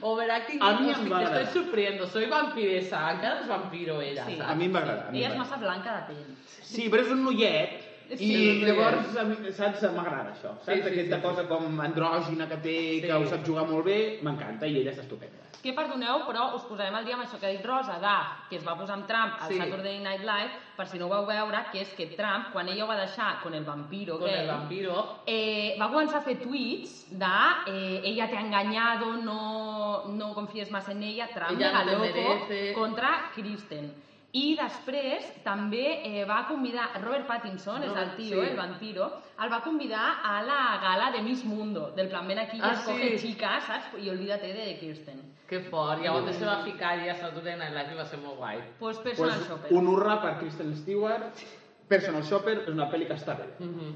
Overacting, A mi em hostia, va te estoy agradar. sufriendo, soy vampiresa, encara és vampiro ella, Sí. saps? A mi em va agradar. a mi em Ella va és agradar. massa blanca de pell. Sí, però és un noiet, i Sí, és un noiet. llavors, a mi, saps, m'agrada això. Saps, Sí, sí, aquesta sí, sí. cosa com andrògina que Sí. té, que ho sap jugar molt bé, m'encanta i ella és estupenda. Que perdoneu, però us posarem al dia amb això que ha dit Rosa, de, que es va posar amb Trump al Sí. Saturday Night Live, per si no ho vau veure, que és que Trump, quan ella ho va deixar con el vampiro, Con aquell, el vampiro. eh, va començar a fer tuits de eh, ella te ha engañado, no, no confíes más en ella, Trump Ella no mega te loco merece. contra Kristen. I després també eh, va convidar Robert Pattinson, és el Robert, tio, sí. el vampiro, el va convidar a la gala de Miss Mundo, del plan ven aquí, Ah, ah, escoge sí. chica, saps? I olvídate de Kirsten. Que fort, llavors se va ficar allà a Saturday Night Live i va ser molt guai. Pues personal pues, shopper. un hurra per Kristen Stewart. Personal Shopper és una pel·li que està bé.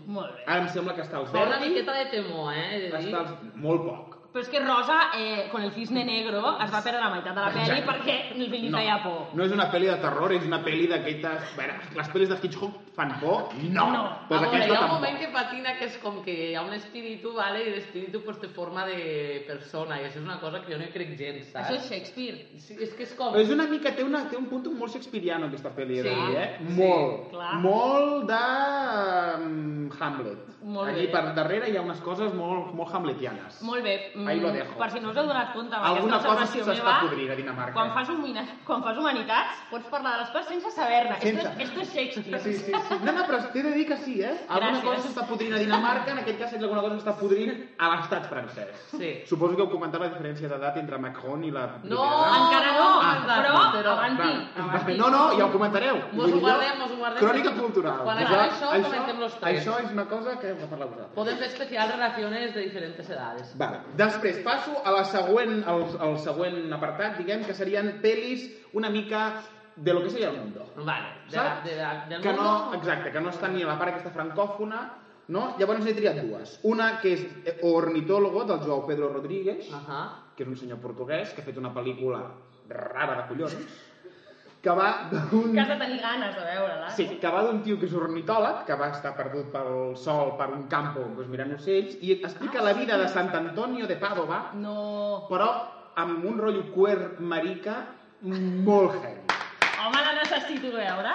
Molt bé. Ara em sembla que està als Fa una Verdi, miqueta de temor, eh? he de dir. està als... molt poc. Però és que Rosa, eh, con el cisne negro, es va perdre la meitat de Ah, la pel·li Exacte. perquè li No, feia por. no és una pel·li de terror, és una pel·li d'aquestes... A veure, les pel·lis de Hitchcock fan por? No! No. A Pues veure, Ah, hi aquesta ha un tampoc. moment que patina que és com que hi ha un espíritu, vale, i l'espíritu pues, té forma de persona, i això és una cosa que jo no hi crec gens, saps? Això és Shakespeare. Sí, és que és com... Però És una mica, té, una, té un punt molt shakespeariano aquesta pel·li, Sí, sí, eh? sí, molt, clar. molt de um, Hamlet. Molt Allí bé. per darrere hi ha unes coses molt, molt hamletianes. Molt bé. mm, Ahí lo dejo. Per si no us heu donat compte amb Alguna aquesta cosa observació s'està meva, podrint a Dinamarca. eh? quan fas, humina... quan fas humanitats pots parlar de les coses sense saber-ne. Esto, Sense. és- esto és Shakespeare. Sí, sí, sí. No, no, però t'he de dir que sí, eh? Alguna Gràcies. cosa s'està podrint a Dinamarca, en aquest cas alguna cosa s'està podrint a l'estat francès. Sí. Suposo que heu comentat la diferència d'edat entre Macron i la No! primera edat. Encara no, Ah, però, però- avanti. Va, avanti. No, no, ja ho comentareu. Mos ho Vull dir, guardem, mos ho guardem. Crònica cultural. Quan Posar- acabi això, comentem los tres. Això és una cosa que heu de parlar vosaltres. Podem fer especial relacions de diferents edades. Vale. Després passo a la següent, al, al següent apartat, diguem, que serien pel·lis una mica de lo que seria el mundo. Vale, de, la, Saps? de, la, del que mundo... no, exacte, que no està ni a la part aquesta francòfona, no? Llavors he triat dues. Una que és eh, Ornitólogo, del Joao Pedro Rodríguez, Ahà. que és un senyor portuguès que ha fet una pel·lícula rara de collons, que va d'un... Que has de tenir ganes de veure-la. Sí, que va d'un tio que és ornitòleg, que va estar perdut pel sol, per un campo, doncs mirant ocells, i explica Ah, la vida de Sant Antonio de Pàdova, No. però amb un rotllo queer marica molt heavy. Home, la necessito veure.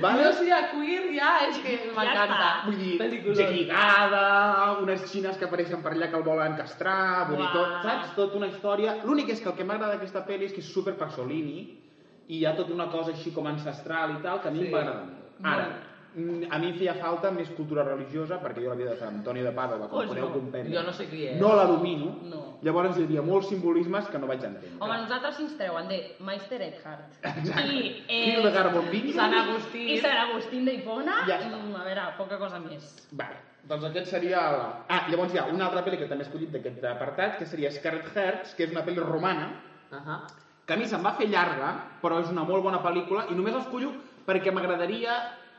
Vale? Jo sí, a queer ja és que (laughs) m'encanta. està. Vull dir, Peliculón. lligada, unes xines que apareixen per allà que el volen castrar, bonitó, Uau. saps? Tota una història. L'únic és que el que m'agrada d'aquesta pel·li és que és super Pasolini i hi ha tota una cosa així com ancestral i tal que a mi Sí. sí. m'agrada molt. Ara, mm, a mi em feia falta més cultura religiosa perquè jo la vida de Sant Antoni de Pàdova, com Pues podeu no. comprendre, Jo no sé qui és. no la domino. No. Llavors hi havia molts simbolismes que no vaig entendre. Home, nosaltres si ens treuen de Meister Eckhart i, eh, Hildegard von Bingen. Sant Agustí. i Sant Agustí d'Hipona, Ja està. mm, a veure, poca cosa més. Vale, doncs aquest seria... La... Ah, llavors hi ha una altra pel·li que també he escollit d'aquest apartat, que seria Scarlet Hearts, que és una pel·li romana, Ahà. que a mi se'm va fer llarga, però és una molt bona pel·lícula, i només els cullo perquè m'agradaria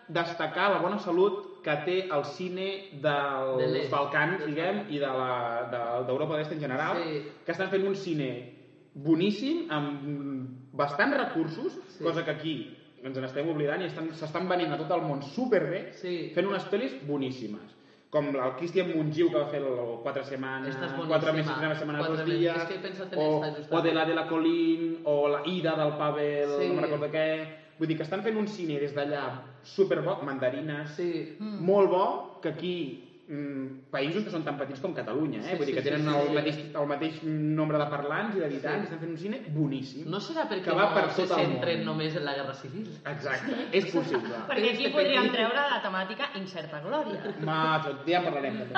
destacar la bona salut que té el cine De dels l'est. Balcans, diguem, i de la- de- d'Europa de l'Est en general, Sí. que estan fent un cine boníssim, amb bastants recursos, Sí. cosa que aquí ens n'estem oblidant i estan- s'estan venint a tot el món superbé, Sí. fent unes pel·lis boníssimes. Com el Christian Mungiu, que va fer el 4 setmanes, Esta és 4 boníssima. mesos, una setmana, Quatre 2 mesos. dies, És que he pensat en o, esta, justament. o de la de la Colín, o la Ida del Pavel, Sí. sí. no me'n recordo què... Vull dir que estan fent un cine des d'allà superbo, mandarines, Sí. molt bo, que aquí mm, països que són tan petits com Catalunya, eh? Sí, Vull dir que sí, sí, tenen sí, el, sí. mateix, el mateix nombre de parlants i d'habitants, Sí. estan fent un cine boníssim. No serà perquè Que va no per se tot el centren món. només en la Guerra Civil. Exacte, (laughs) és possible. Perquè aquí Este podríem petit. treure la temàtica Incerta Glòria. Macho, ja en parlarem també.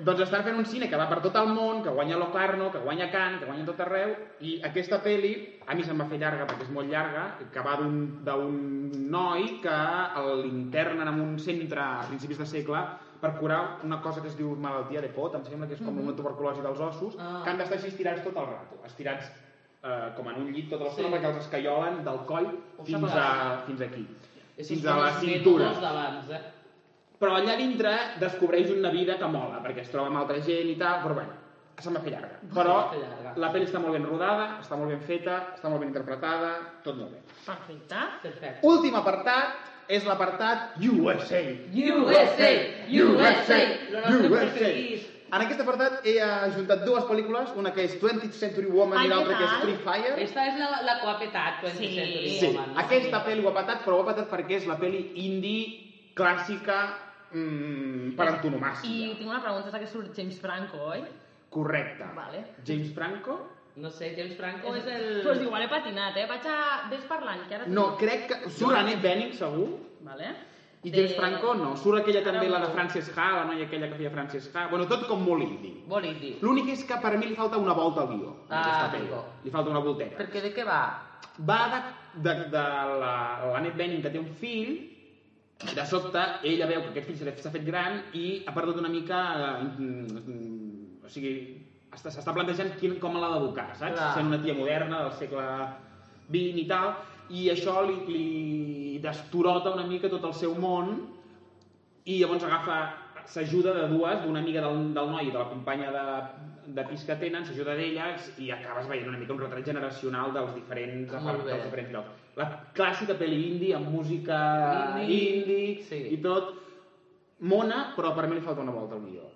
doncs estan fent un cine que va per tot el món, que guanya Locarno, que guanya Cannes, que guanya tot arreu, i aquesta peli, a mi se'm va fer llarga perquè és molt llarga, que va d'un d'un noi que l'internen en un centre a principis de segle per curar una cosa que es diu malaltia de pot, em sembla que és com una tuberculosi dels ossos, que han d'estar així estirats tot el rato, estirats eh, com en un llit tota l'estona Sí. sí. perquè els escaiolen del coll fins, a, fins aquí, fins a la Esos cintura. métodos d'abans, eh? Però allà dintre descobreix una vida que mola, perquè es troba amb altra gent i tal, però bueno, se'm va fer llarga. Però fer llarga. la pel·li està molt ben rodada, està molt ben feta, està molt ben interpretada, tot molt bé. Perfecte. Perfecte. Últim apartat és l'apartat USA. USA! USA! Lo nostre preferit. En aquest apartat he ajuntat dues pel·lícules, una que és 20th Century Woman Ai, i l'altra què que és tal? Free Fire. Esta és la, la que ho ha petat, 20 Sí. Century Sí, Woman. aquesta pel·li ho ha patat, però ho ha patat perquè és la pel·li indie clàssica mm, per I antonomàsia. tinc una pregunta, és la que surt James Franco, oi? Correcte. Vale. James Franco? No sé, James Franco O és el... Pues igual he patinat, eh? Vaig a... Ves parlant, que ara... No, crec que... Surt Annette Bening, segur. Vale. I De- James Franco no. Surt aquella també, Ara la de Eh, no. Frances Ha, la noia aquella que feia Frances Ha. Bueno, tot com molt indie. Bonic, dir. L'únic és que per mi li falta una volta al guió. en Ah, aquesta pel·li. amigo. Li falta una volteta. Perquè de què va? Va de, de, de la- l'Annette Bening, que té un fill, i de sobte ella veu que aquest fill se l'ha- s'ha fet gran i ha perdut una mica... eh, mm, mm, o sigui, està- s'està plantejant quin, com l'ha d'educar, saps? Clar. Sent una tia moderna del segle XX i tal, i això li, li destorota una mica tot el seu món i llavors agafa s'ajuda de dues, d'una amiga del, del noi i de la companya de, de pis que tenen, s'ajuda d'elles i acabes veient una mica un retrat generacional dels diferents, Molt bé. dels diferents llocs. La clàssica pel·li indie amb música Indie. indie Sí. i tot. Mona, però per mi li falta una volta al guió.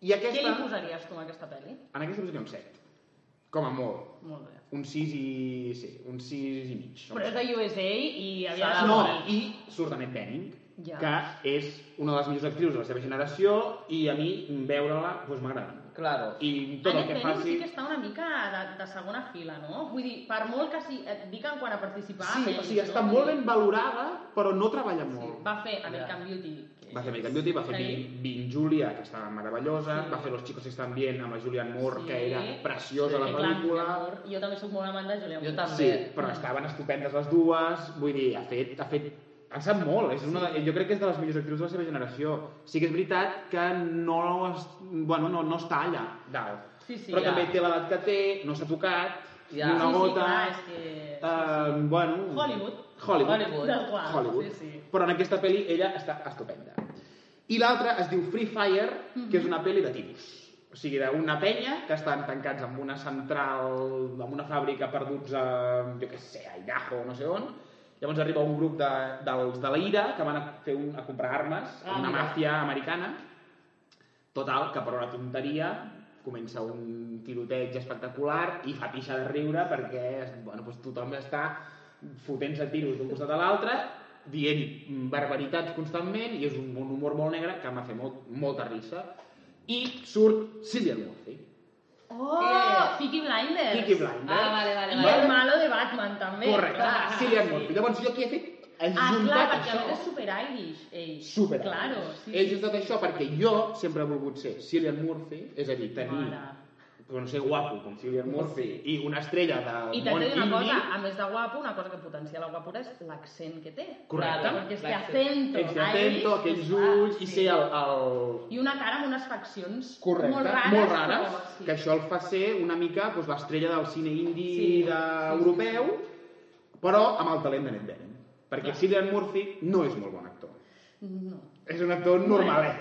I Què li aquesta... posaries tu a aquesta pel·li? En aquesta música un 7. Com a molt. Molt bé. Un 6 i... Sí, un 6 i mig. Però és de USA i havia Serà de No, morir. i surt Annette Bening, Ja. que és una de les millors actrius de la seva generació i a mi veure-la doncs, m'agrada. molt. Claro. I tot el Annette que Bening faci... sí que està una mica de, de segona fila, no? Vull dir, per molt que sí, et dic en quant a participar... Sí, menys, o sigui, està no? molt ben valorada, però no treballa molt. Va fer American Beauty. que- Va fer American Beauty, va fer Sí. Being, Being Julia, que estava meravellosa, va fer Los chicos están bien amb la Julianne Moore, Sí. que era preciosa Que la clar, pel·lícula. Julianne Moore, Jo també sóc molt amant de Julianne Jo Moore. també. Sí, però estaven estupendes les dues, vull dir, ha fet... Ha fet ha sap molt, és una, de- jo crec que és de les millors actrius de la seva generació. Sí que és veritat que no, es, bueno, no, no està allà dalt, Sí, sí, però ja. també té l'edat que té, no s'ha tocat, Ja. ni Sí, una sí, gota... clar, és que- eh, bueno, Hollywood. Hollywood. Hollywood. Del qual. Hollywood. Sí, sí. Però en aquesta Mhm. pel·li ella està estupenda. I l'altra es diu Free Fire, que és una pel·li de tiros. O sigui, d'una penya que estan tancats amb una central, amb una fàbrica perduts a, jo què sé, a Idaho o no sé on. Llavors arriba un grup de, dels de la Ira que van a, fer un, a comprar armes, Ah, a una mira. màfia americana. Total, que per una tonteria comença un tiroteig espectacular i fa pixa de riure perquè bueno, doncs tothom està fotent-se tiros d'un costat a l'altre dient mm, barbaritats constantment i és un, un humor molt negre que m'ha fet molt, molta risa i surt Cillian Murphy Oh! Peaky Blinders. Peaky Blinders. Ah, vale, vale. I vale. el malo de Batman, també. correcte, Ah, Cillian Murphy llavors jo aquí he fet he Ah, clar, juntat perquè a més això és super Irish, ell. super Claro, sí. he juntat això perquè jo sempre he volgut ser Cillian Murphy és a dir, tenir Mare. no sé, guapo com Cillian Murphy i una estrella del I t'he món de dir una indie cosa, a més de guapo, una cosa que potencia la guapura és l'accent que té. Correcte. Claro, perquè és que L'accent. acento, Ets de Irish, atento, aquells clar, ulls i sí. ser el, el, I una cara amb unes faccions Correcte, molt rares. molt rares però sí. que això el fa ser una mica doncs, l'estrella del cine Sí, indi sí, sí, de... sí, europeu, però amb el talent de Ned Bening. Perquè Cillian Murphy no és molt bon actor. No. És un actor normalet.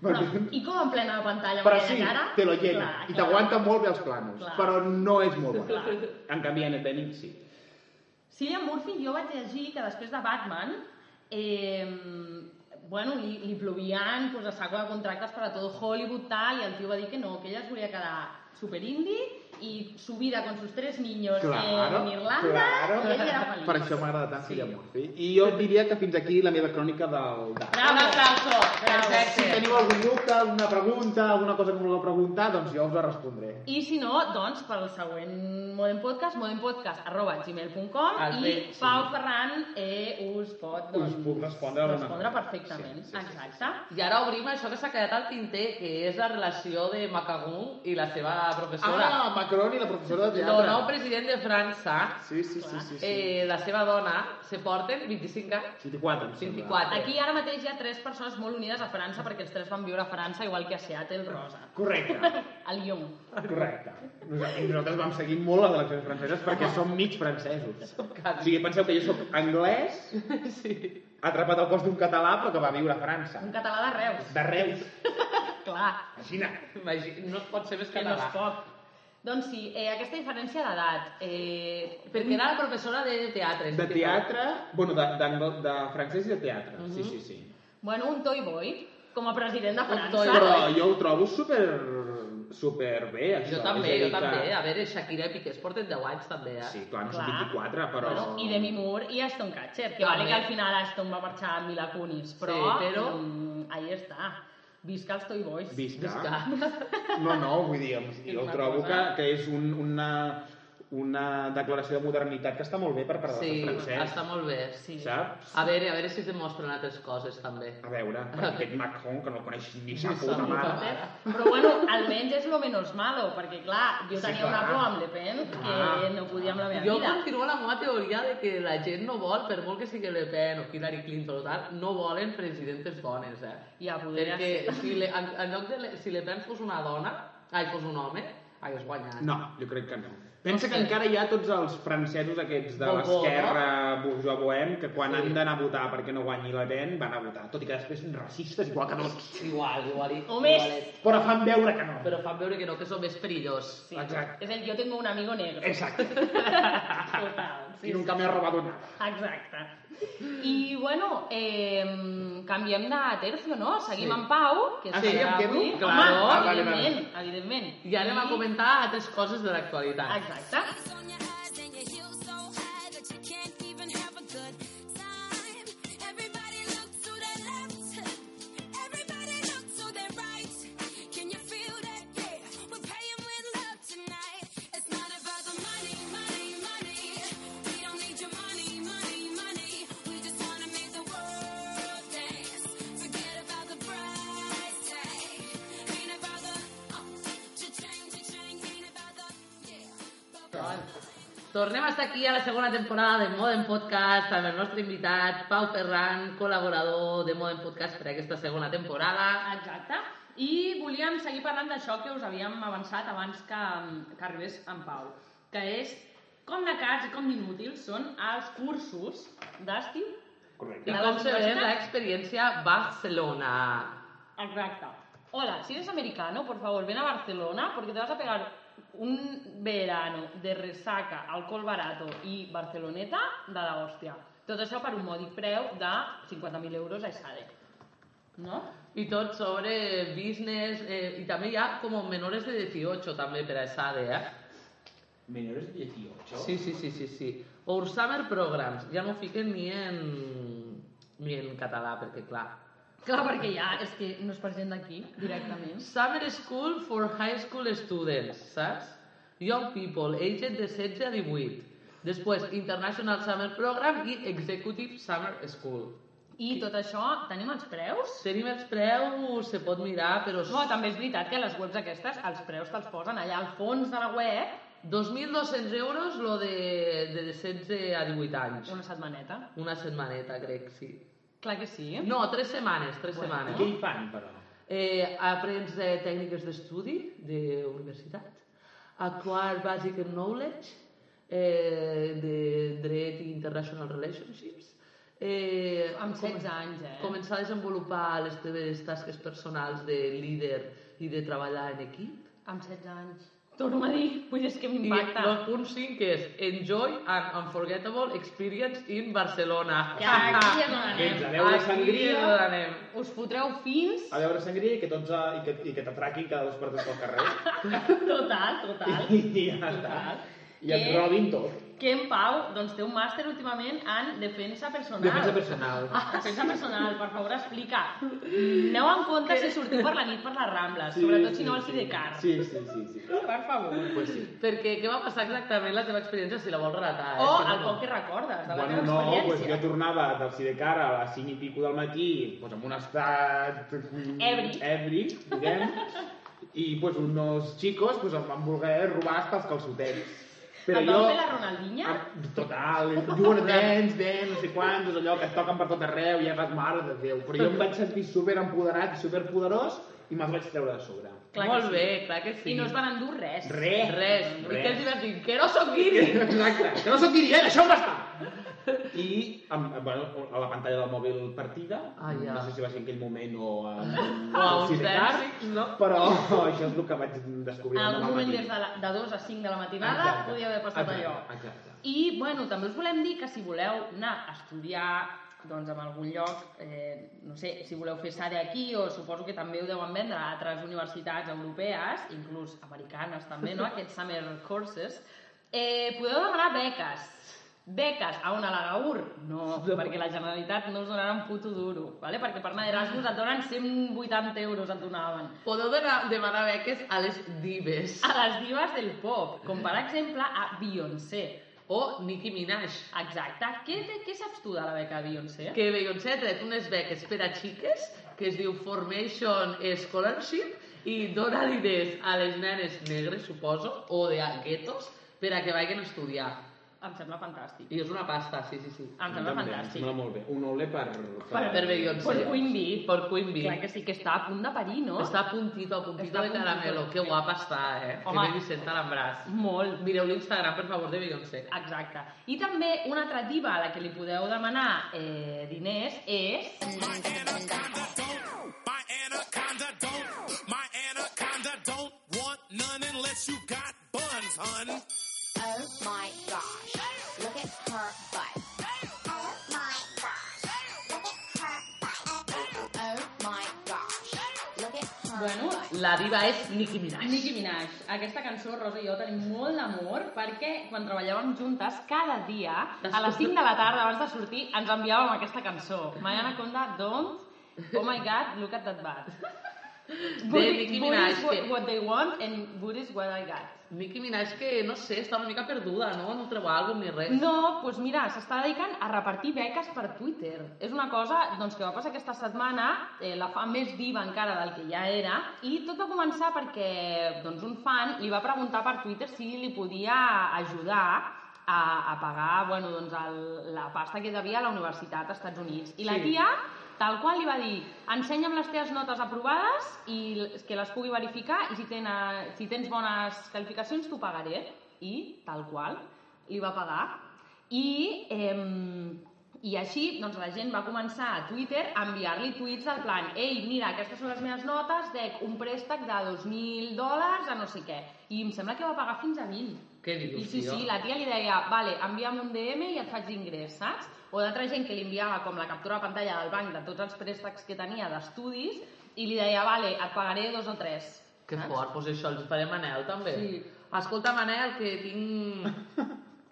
Però, Perquè- I com en plena pantalla amb però aquella sí, cara? te lo llena. I t'aguanta molt bé els planos. Clar. Però no és (laughs) molt bon. Clar. actor. En canvi, Ned Bening sí. Cillian Murphy jo vaig llegir que després de Batman eh, bueno, li, li plovien pues, a saco de contractes per a tot Hollywood tal, i el tio va dir que no, que ella es volia quedar super indie i su vida con sus tres niños Claro, eh, en Irlanda claro. i ell era feliç. Per això m'agrada tant Cillian Murphy. I jo diria que fins aquí la meva crònica del... del... Bravo, un aplauso. Bravo. Si teniu algun dubte, alguna pregunta, alguna cosa que vulgueu preguntar, doncs jo us la respondré. I si no, doncs, pel següent Modem Podcast, modempodcast.gmail.com El i bé, sí. Pau Ferran eh, us pot doncs, Us puc respondre alguna respondre cosa. perfectament. Sí, sí, sí, sí. Exacte. I ara obrim això que s'ha quedat al tinter, que és la relació de Macagun i la seva professora. Ah, Macron i la professora de no, teatre. no, president de França, Sí, sí, sí, sí. sí. eh, la seva dona, se porten 25 anys. 24, em sembla. 24. Aquí ara mateix hi ha tres persones molt unides a França perquè els tres van viure a França igual que a Seattle Rosa. Correcte, El Lyon. correcte. Nosaltres, nosaltres vam seguir molt les eleccions franceses perquè som mig francesos. O sigui, penseu que jo sóc anglès, (laughs) Sí. atrapat al cos d'un català però que va viure a França. Un català de Reus. De Reus. Clar, Imagina. Imagina, no es pot ser més que no català. es pot. Doncs sí, eh, aquesta diferència d'edat. Eh, Perquè era la professora de teatre. De sí que- teatre, bueno, de, de, de francès i de teatre. Sí, sí, sí. bueno, un toy boy com a president de França. toy boy. Però jo ho trobo super, super bé, això. Jo És també, a jo dir que- també. A veure, Shakira i Piqué es porten 10 anys també, eh? Sí, clar, no són Clar. 24, però... Bueno, I Demi Moore i Aston Kutcher, que També. vale que al final Aston va marxar amb Mila Kunis, però, Sí, però- Mm, ahí està. Visca els Toy Boys. Visca. (laughs) Visca. No, no, vull dir, o sigui, jo una trobo que, cosa- que és un, una, una declaració de modernitat que està molt bé per part dels Sí, francès, està molt bé. Sí. Sí. saps? A veure, a veure si es demostren altres coses, també. A veure, per aquest Macron, que no el coneix ni sa sa puta puta mare. mare. Però bueno, almenys és lo menos malo, perquè clar, jo Sí, tenia clar. una por amb Le Pen que Ah. no podia amb la meva Jo vida. continuo la meva teoria de que la gent no vol, per molt que sigui Le Pen o Hillary Clinton o tal, no volen presidentes dones, eh? Ja podria Perquè ser. si le, en, en lloc de... Le, si Le Pen fos una dona, ai, fos un home, hagués guanyat. No, jo crec que no. Pensa que encara hi ha tots els francesos aquests de Bobo, no? l'esquerra bourgeois bohem que quan Sí. han d'anar a votar perquè no guanyi la Ben van a votar, tot i que després són racistes igual que tots. Igual, igual. O més. Però fan veure que no. Però fan veure que no, que són més perillós. Sí. Exacte. És el jo tengo un amigo negro. (laughs) Exacte. Total. I nunca m'he robat nada. Exacte. I, bueno, eh, canviem de tercio, no? Seguim Sí. amb Pau, que Ah, serà sí, em quedo? avui. Claro. Home, Ah, vale, evidentment, evidentment. I ara va comentar altres coses de l'actualitat. Exacte. Eyes on your eyes and your heels so high that you can't even have a good time. Everybody look to their left. Everybody look to their right. Can you feel that? Yeah, we're paying with love tonight. It's not about the money, money, money. We don't need your money, money, money. We just wanna make the world dance. Forget about the price tag. Ain't about the oh, cha-ching, cha-ching. Ain't about the yeah. Tornem a estar aquí a la segona temporada de Modern Podcast amb el nostre invitat Pau Ferran, col·laborador de Modern Podcast per aquesta segona temporada. Exacte. I volíem seguir parlant d'això que us havíem avançat abans que, que arribés en Pau, que és com de cars i com d'inútils són els cursos d'estiu. Correcte. I De la com se ven universitat? l'experiència Barcelona. Exacte. Hola, si eres americano, por favor, ven a Barcelona porque te vas a pegar un verano de resaca, alcohol barato i barceloneta de la hòstia. Tot això per un modi preu de 50.000 euros a Esade. No? I tot sobre business, eh, i també hi ha com menores de 18 també per a SADE, eh? Menores de 18. Sí, sí, sí, sí, sí. Our Summer Programs, ja no ho fiquen ni en, ni en català, perquè clar... Clar, perquè ja, és que no és per gent d'aquí, directament. Summer School for High School Students, saps? Young People, aged de 16 a 18. Després, International Summer Program i Executive Summer School. I tot això, tenim els preus? Tenim els preus, se pot mirar, però... No, també és veritat que les webs aquestes, els preus te'ls posen allà al fons de la web, 2.200 euros lo de, de 16 a 18 anys. una setmaneta. Una setmaneta, crec, sí. Clar que sí. No, tres setmanes, tres bueno, setmanes. Què hi fan, però? Eh, aprens eh, tècniques d'estudi de universitat, acquire basic knowledge eh, de dret i international relationships, eh, Amb com- 16 anys, eh? començar a desenvolupar les teves tasques personals de líder i de treballar en equip. Amb 16 anys. Torno a dir, vull dir, és I que m'impacta. el punt 5 és Enjoy an unforgettable experience in Barcelona. Ja, aquí és on Vens a anem. veure Aquí sangria... és on anem. Us fotreu fins... A Ah. veure sangria i que tots... eh, i que, i que t'atraquin cada dos per tres pel carrer. (laughs) Total, total. I ja està. Total. I et Què? robin tot. Que en Pau doncs, té un màster últimament en defensa personal. Defensa personal. Ah, defensa personal, per favor, explica. Aneu amb compte si sortiu per la nit per les Rambles, sobretot si no al Sidecar. Sí, sí, sí. sí. Per favor. Pues sí. Perquè què va passar exactament la teva experiència, si la vols relatar? eh? O si no, el no. poc que recordes de la Bueno, teva no, pues experiència. jo tornava del Sidecar a les 5 i pico del matí, pues amb un estat... Ebri. Ebri, diguem. I pues uns xicos pues, em van voler robar hasta els calçotets. Et vau fer la Ronaldinha? Ah, Em- Total, eh, diuen dents, dents, no sé quantos, allò que es toquen per tot arreu, i és les mare de Déu. Però jo em vaig sentir super empoderat i super poderós i me'ls vaig treure de sobre. Clar que Molt sí. bé, clar que sí. I no es van endur res. Eh, Res. Res. I Res. què els hi vas dir? Que no sóc (laughs) guiri! Exacte, que no sóc dirigent, això em va estar! I amb, amb, bueno, a la pantalla del mòbil partida, Ah, ja. no sé si va ser en aquell moment o a, O Ah, a uns Sidecar, dèxics, no? però això és el que vaig descobrir En demà algun al moment matí. des de, la, de 2 a 5 de la matinada Exacte. podia haver passat Exacte, allò. Exacte. I, bueno, també us volem dir que si voleu anar a estudiar doncs en algun lloc, eh, no sé, si voleu fer SADE aquí o suposo que també ho deuen vendre a altres universitats europees, inclús americanes també, no?, aquests summer courses, eh, podeu demanar beques. Beques a una a la GAUR? No, perquè la Generalitat no us donarà un puto duro, ¿vale? perquè per anar d'Erasmus et donen 180 euros, et donaven. Podeu demanar, demanar beques a les divas. A les divas del pop, com per exemple a Beyoncé, O Nicki Minaj. Exacte. Què, te- què saps tu de la beca Beyoncé? Que Beyoncé ha tret unes beques per a xiques que es diu Formation Scholarship i dona diners a les nenes negres, suposo, o de guetos, per a que vagin a estudiar. Em sembla fantàstic. I és una pasta, sí, sí, sí. Em sembla També, em fantàstic. Sembla molt bé. Un ole per... Per Beyoncé. Per Queen Bee. Per Queen Bee. Clar que sí, que està a punt de parir, no? Està puntito, a puntito Està de caramelo. puntito. Que guapa està, eh? Home. Que bé Vicenta l'embràs. Molt. Mireu l'Instagram, per favor, de Beyoncé. Exacte. I també una altra diva a la que li podeu demanar eh, diners és... My anaconda don't, my anaconda don't want none unless you got buns, hun. Oh my gosh. Look at her butt. Oh my gosh. Look at her butt. Oh my gosh. Look at her Bueno, La diva és Nicki Minaj. Nicki Minaj. Aquesta cançó, Rosa i jo tenim molt d'amor perquè quan treballàvem juntes, cada dia, a les 5 de la tarda abans de sortir, ens enviàvem aquesta cançó. My Anaconda, don't... Oh my god, look at that butt. De Nicki Minaj, Booty is que- what they want and booty is what I got. Nicki Minaj que, no sé, està una mica perduda, no? No treu àlbum ni res. No, doncs pues mira, s'està dedicant a repartir beques per Twitter. És una cosa doncs, que va passar aquesta setmana, eh, la fa més diva encara del que ja era, i tot va començar perquè doncs, un fan li va preguntar per Twitter si li podia ajudar a, a pagar bueno, doncs, el, la pasta que devia a la universitat als Estats Units. I la tia tal qual li va dir, ensenya'm les teves notes aprovades i l- que les pugui verificar i si, ten, eh, si tens bones qualificacions t'ho pagaré. I, tal qual, li va pagar. I, eh, I així, doncs, la gent va començar a Twitter a enviar-li tuits del plan «Ei, mira, aquestes són les meves notes, dec un préstec de 2.000 dòlars a no sé què». I em sembla que va pagar fins a 20. Què dius, I sí, tio? sí, la tia li deia, vale, envia'm un DM i et faig ingrés, saps? O d'altra gent que li enviava com la captura de pantalla del banc de tots els préstecs que tenia d'estudis i li deia, vale, et pagaré dos o tres. Que fort, doncs això els faré a Manel, també. Sí. Escolta, Manel, que tinc... (laughs)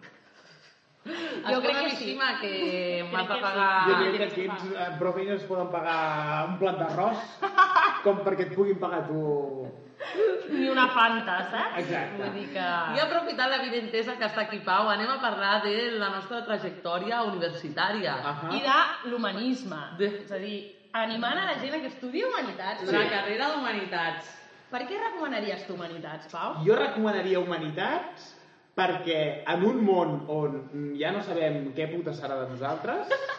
jo crec que sí. que m'has de pagar... Jo ah, crec que aquí ets, eh, prou feines poden pagar un plat d'arròs com perquè et puguin pagar tu... Ni una fanta, saps? Exacte. Vull dir que... I aprofitant l'avidentesa que està aquí, Pau, anem a parlar de la nostra trajectòria universitària. Ahà. i de l'humanisme. De- És a dir, animant a la gent a que estudi humanitats. La perquè- carrera d'Humanitats. Per què recomanaries tu humanitats, Pau? Jo recomanaria Humanitats perquè en un món on ja no sabem què puta serà de nosaltres,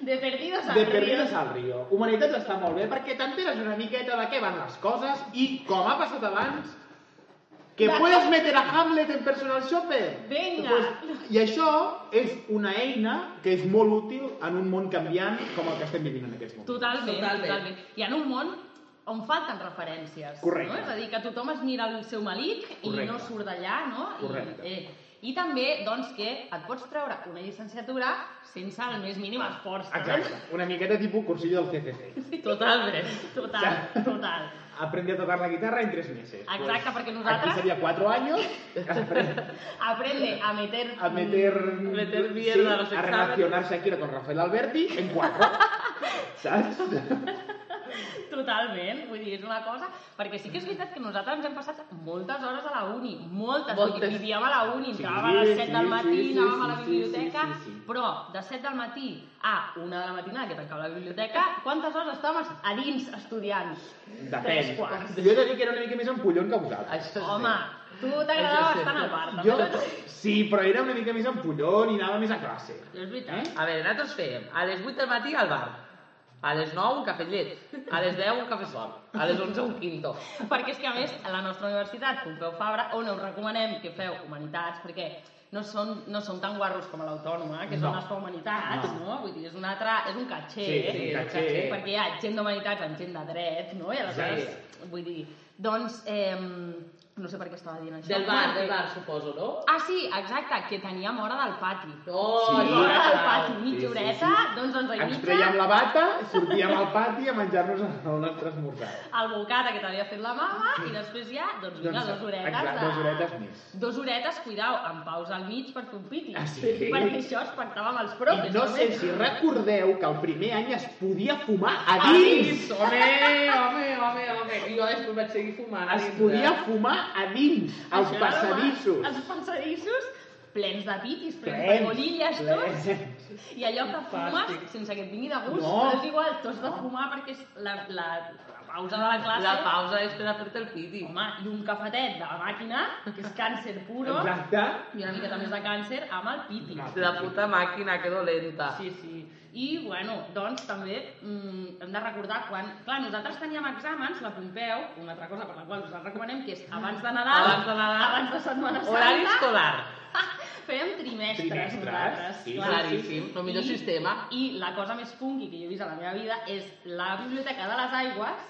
De perdidos al de río. perdides al rio. Humanitats està molt bé perquè t'enteres una miqueta de què van les coses i, com ha passat abans, que Va. puedes meter a Hamlet en personal shopper. Venga. I això és una eina que és molt útil en un món canviant com el que estem vivint en aquests moments. Totalment, Totalment. totalment, totalment. I en un món on falten referències. Correcte. No? És a dir, que tothom es mira el seu malic i Correcte. no surt d'allà, no? Correcte. I, eh, I també, doncs, que et pots treure una llicenciatura sense el més mínim esforç. Exacte, una miqueta tipus cursillo del CCC. Totalment. Total, total. Aprendí a tocar la guitarra en tres meses. Exacte, perquè nosaltres- Aquí seria cuatro años, aprende Aprende a meter... a meter... meter mierda a los a exámenes. relacionarse aquí con Rafael Alberti en cuatro. ¿Sabes? Totalment, vull dir, és una cosa... Perquè sí que és veritat que nosaltres ens hem passat moltes hores a la uni, moltes, moltes. Moltes. vivíem a la uni, Sí, entràvem a les 7 sí, del sí, matí, sí, anàvem a la sí, sí, biblioteca, sí, sí, sí. però de 7 del matí a 1 de la matinada que tancava la biblioteca, quantes hores estàvem a dins estudiant? Tres Depèn. quarts. Jo he de dir que era una mica més empollon que vosaltres. Això és Home, bé. tu t'agradava Això sí. bastant el bar, també. Jo, sí, però era una mica més empollon i anava més a classe. Jo... És veritat. A veure, nosaltres fèiem a les 8 del matí al bar, a les 9 un cafè amb llet, a les 10 un cafè sol, a les 11 un quinto. (laughs) Perquè és que, a més, a la nostra universitat, Pompeu Fabra, on us recomanem que feu humanitats, perquè no són, no són tan guarros com a l'Autònoma, que és No. on es fa humanitats, no. Vull dir, és un altre... És un catxer, Sí, és un eh? catxer. Perquè hi ha gent d'humanitats amb gent de dret, no? I aleshores, vull dir... Doncs, eh, no sé per què estava dient això. Del bar, eh? Bueno, del que- bar, suposo, no? Ah, sí, exacte, que teníem hora del pati. Oh, Sí. Hora del pati, Sí, sí, mitja horeta, sí. doncs onze i Ens mitja, traiem la bata, sortíem al pati a menjar-nos el nostre esmorzar. el bocata que t'havia fet la mama, i després ja, doncs vinga, Doncs, dues horetes exacte, de... dues horetes més. Dos horetes, cuidao, amb paus al mig per fer un piti. Ah, sí? Perquè això es pactava amb els I propis. no sé si recordeu que el primer any es podia fumar a dins. Home, Eh, home, home, home. I jo després vaig seguir fumant. Es podia fumar a dins, als eh? Això era lo passadissos. más. Els passadissos plens de pitis, plens de Plens, bolilles, plens. tots. I allò que fumes, sense que et vingui de gust, No. però és igual, t'has de fumar perquè és la, la, la pausa de la classe. La pausa és per a fer-te el piti. Home, i un cafetet de la màquina, que és càncer puro, Exacte. i una miqueta més de càncer, amb el piti. La puta màquina, que dolenta. Sí, sí. I, bueno, doncs també mm, hem de recordar quan... Clar, nosaltres teníem exàmens, la Pompeu, una altra cosa per la qual nosaltres recomanem, que és abans de Nadal, Abans de Nadal. abans de Setmana Santa... Horari escolar. Fèiem trimestres, Trimestres, nosaltres. sí, claríssim. El millor I- sistema. I la cosa més funky que jo he vist a la meva vida és la Biblioteca de les Aigües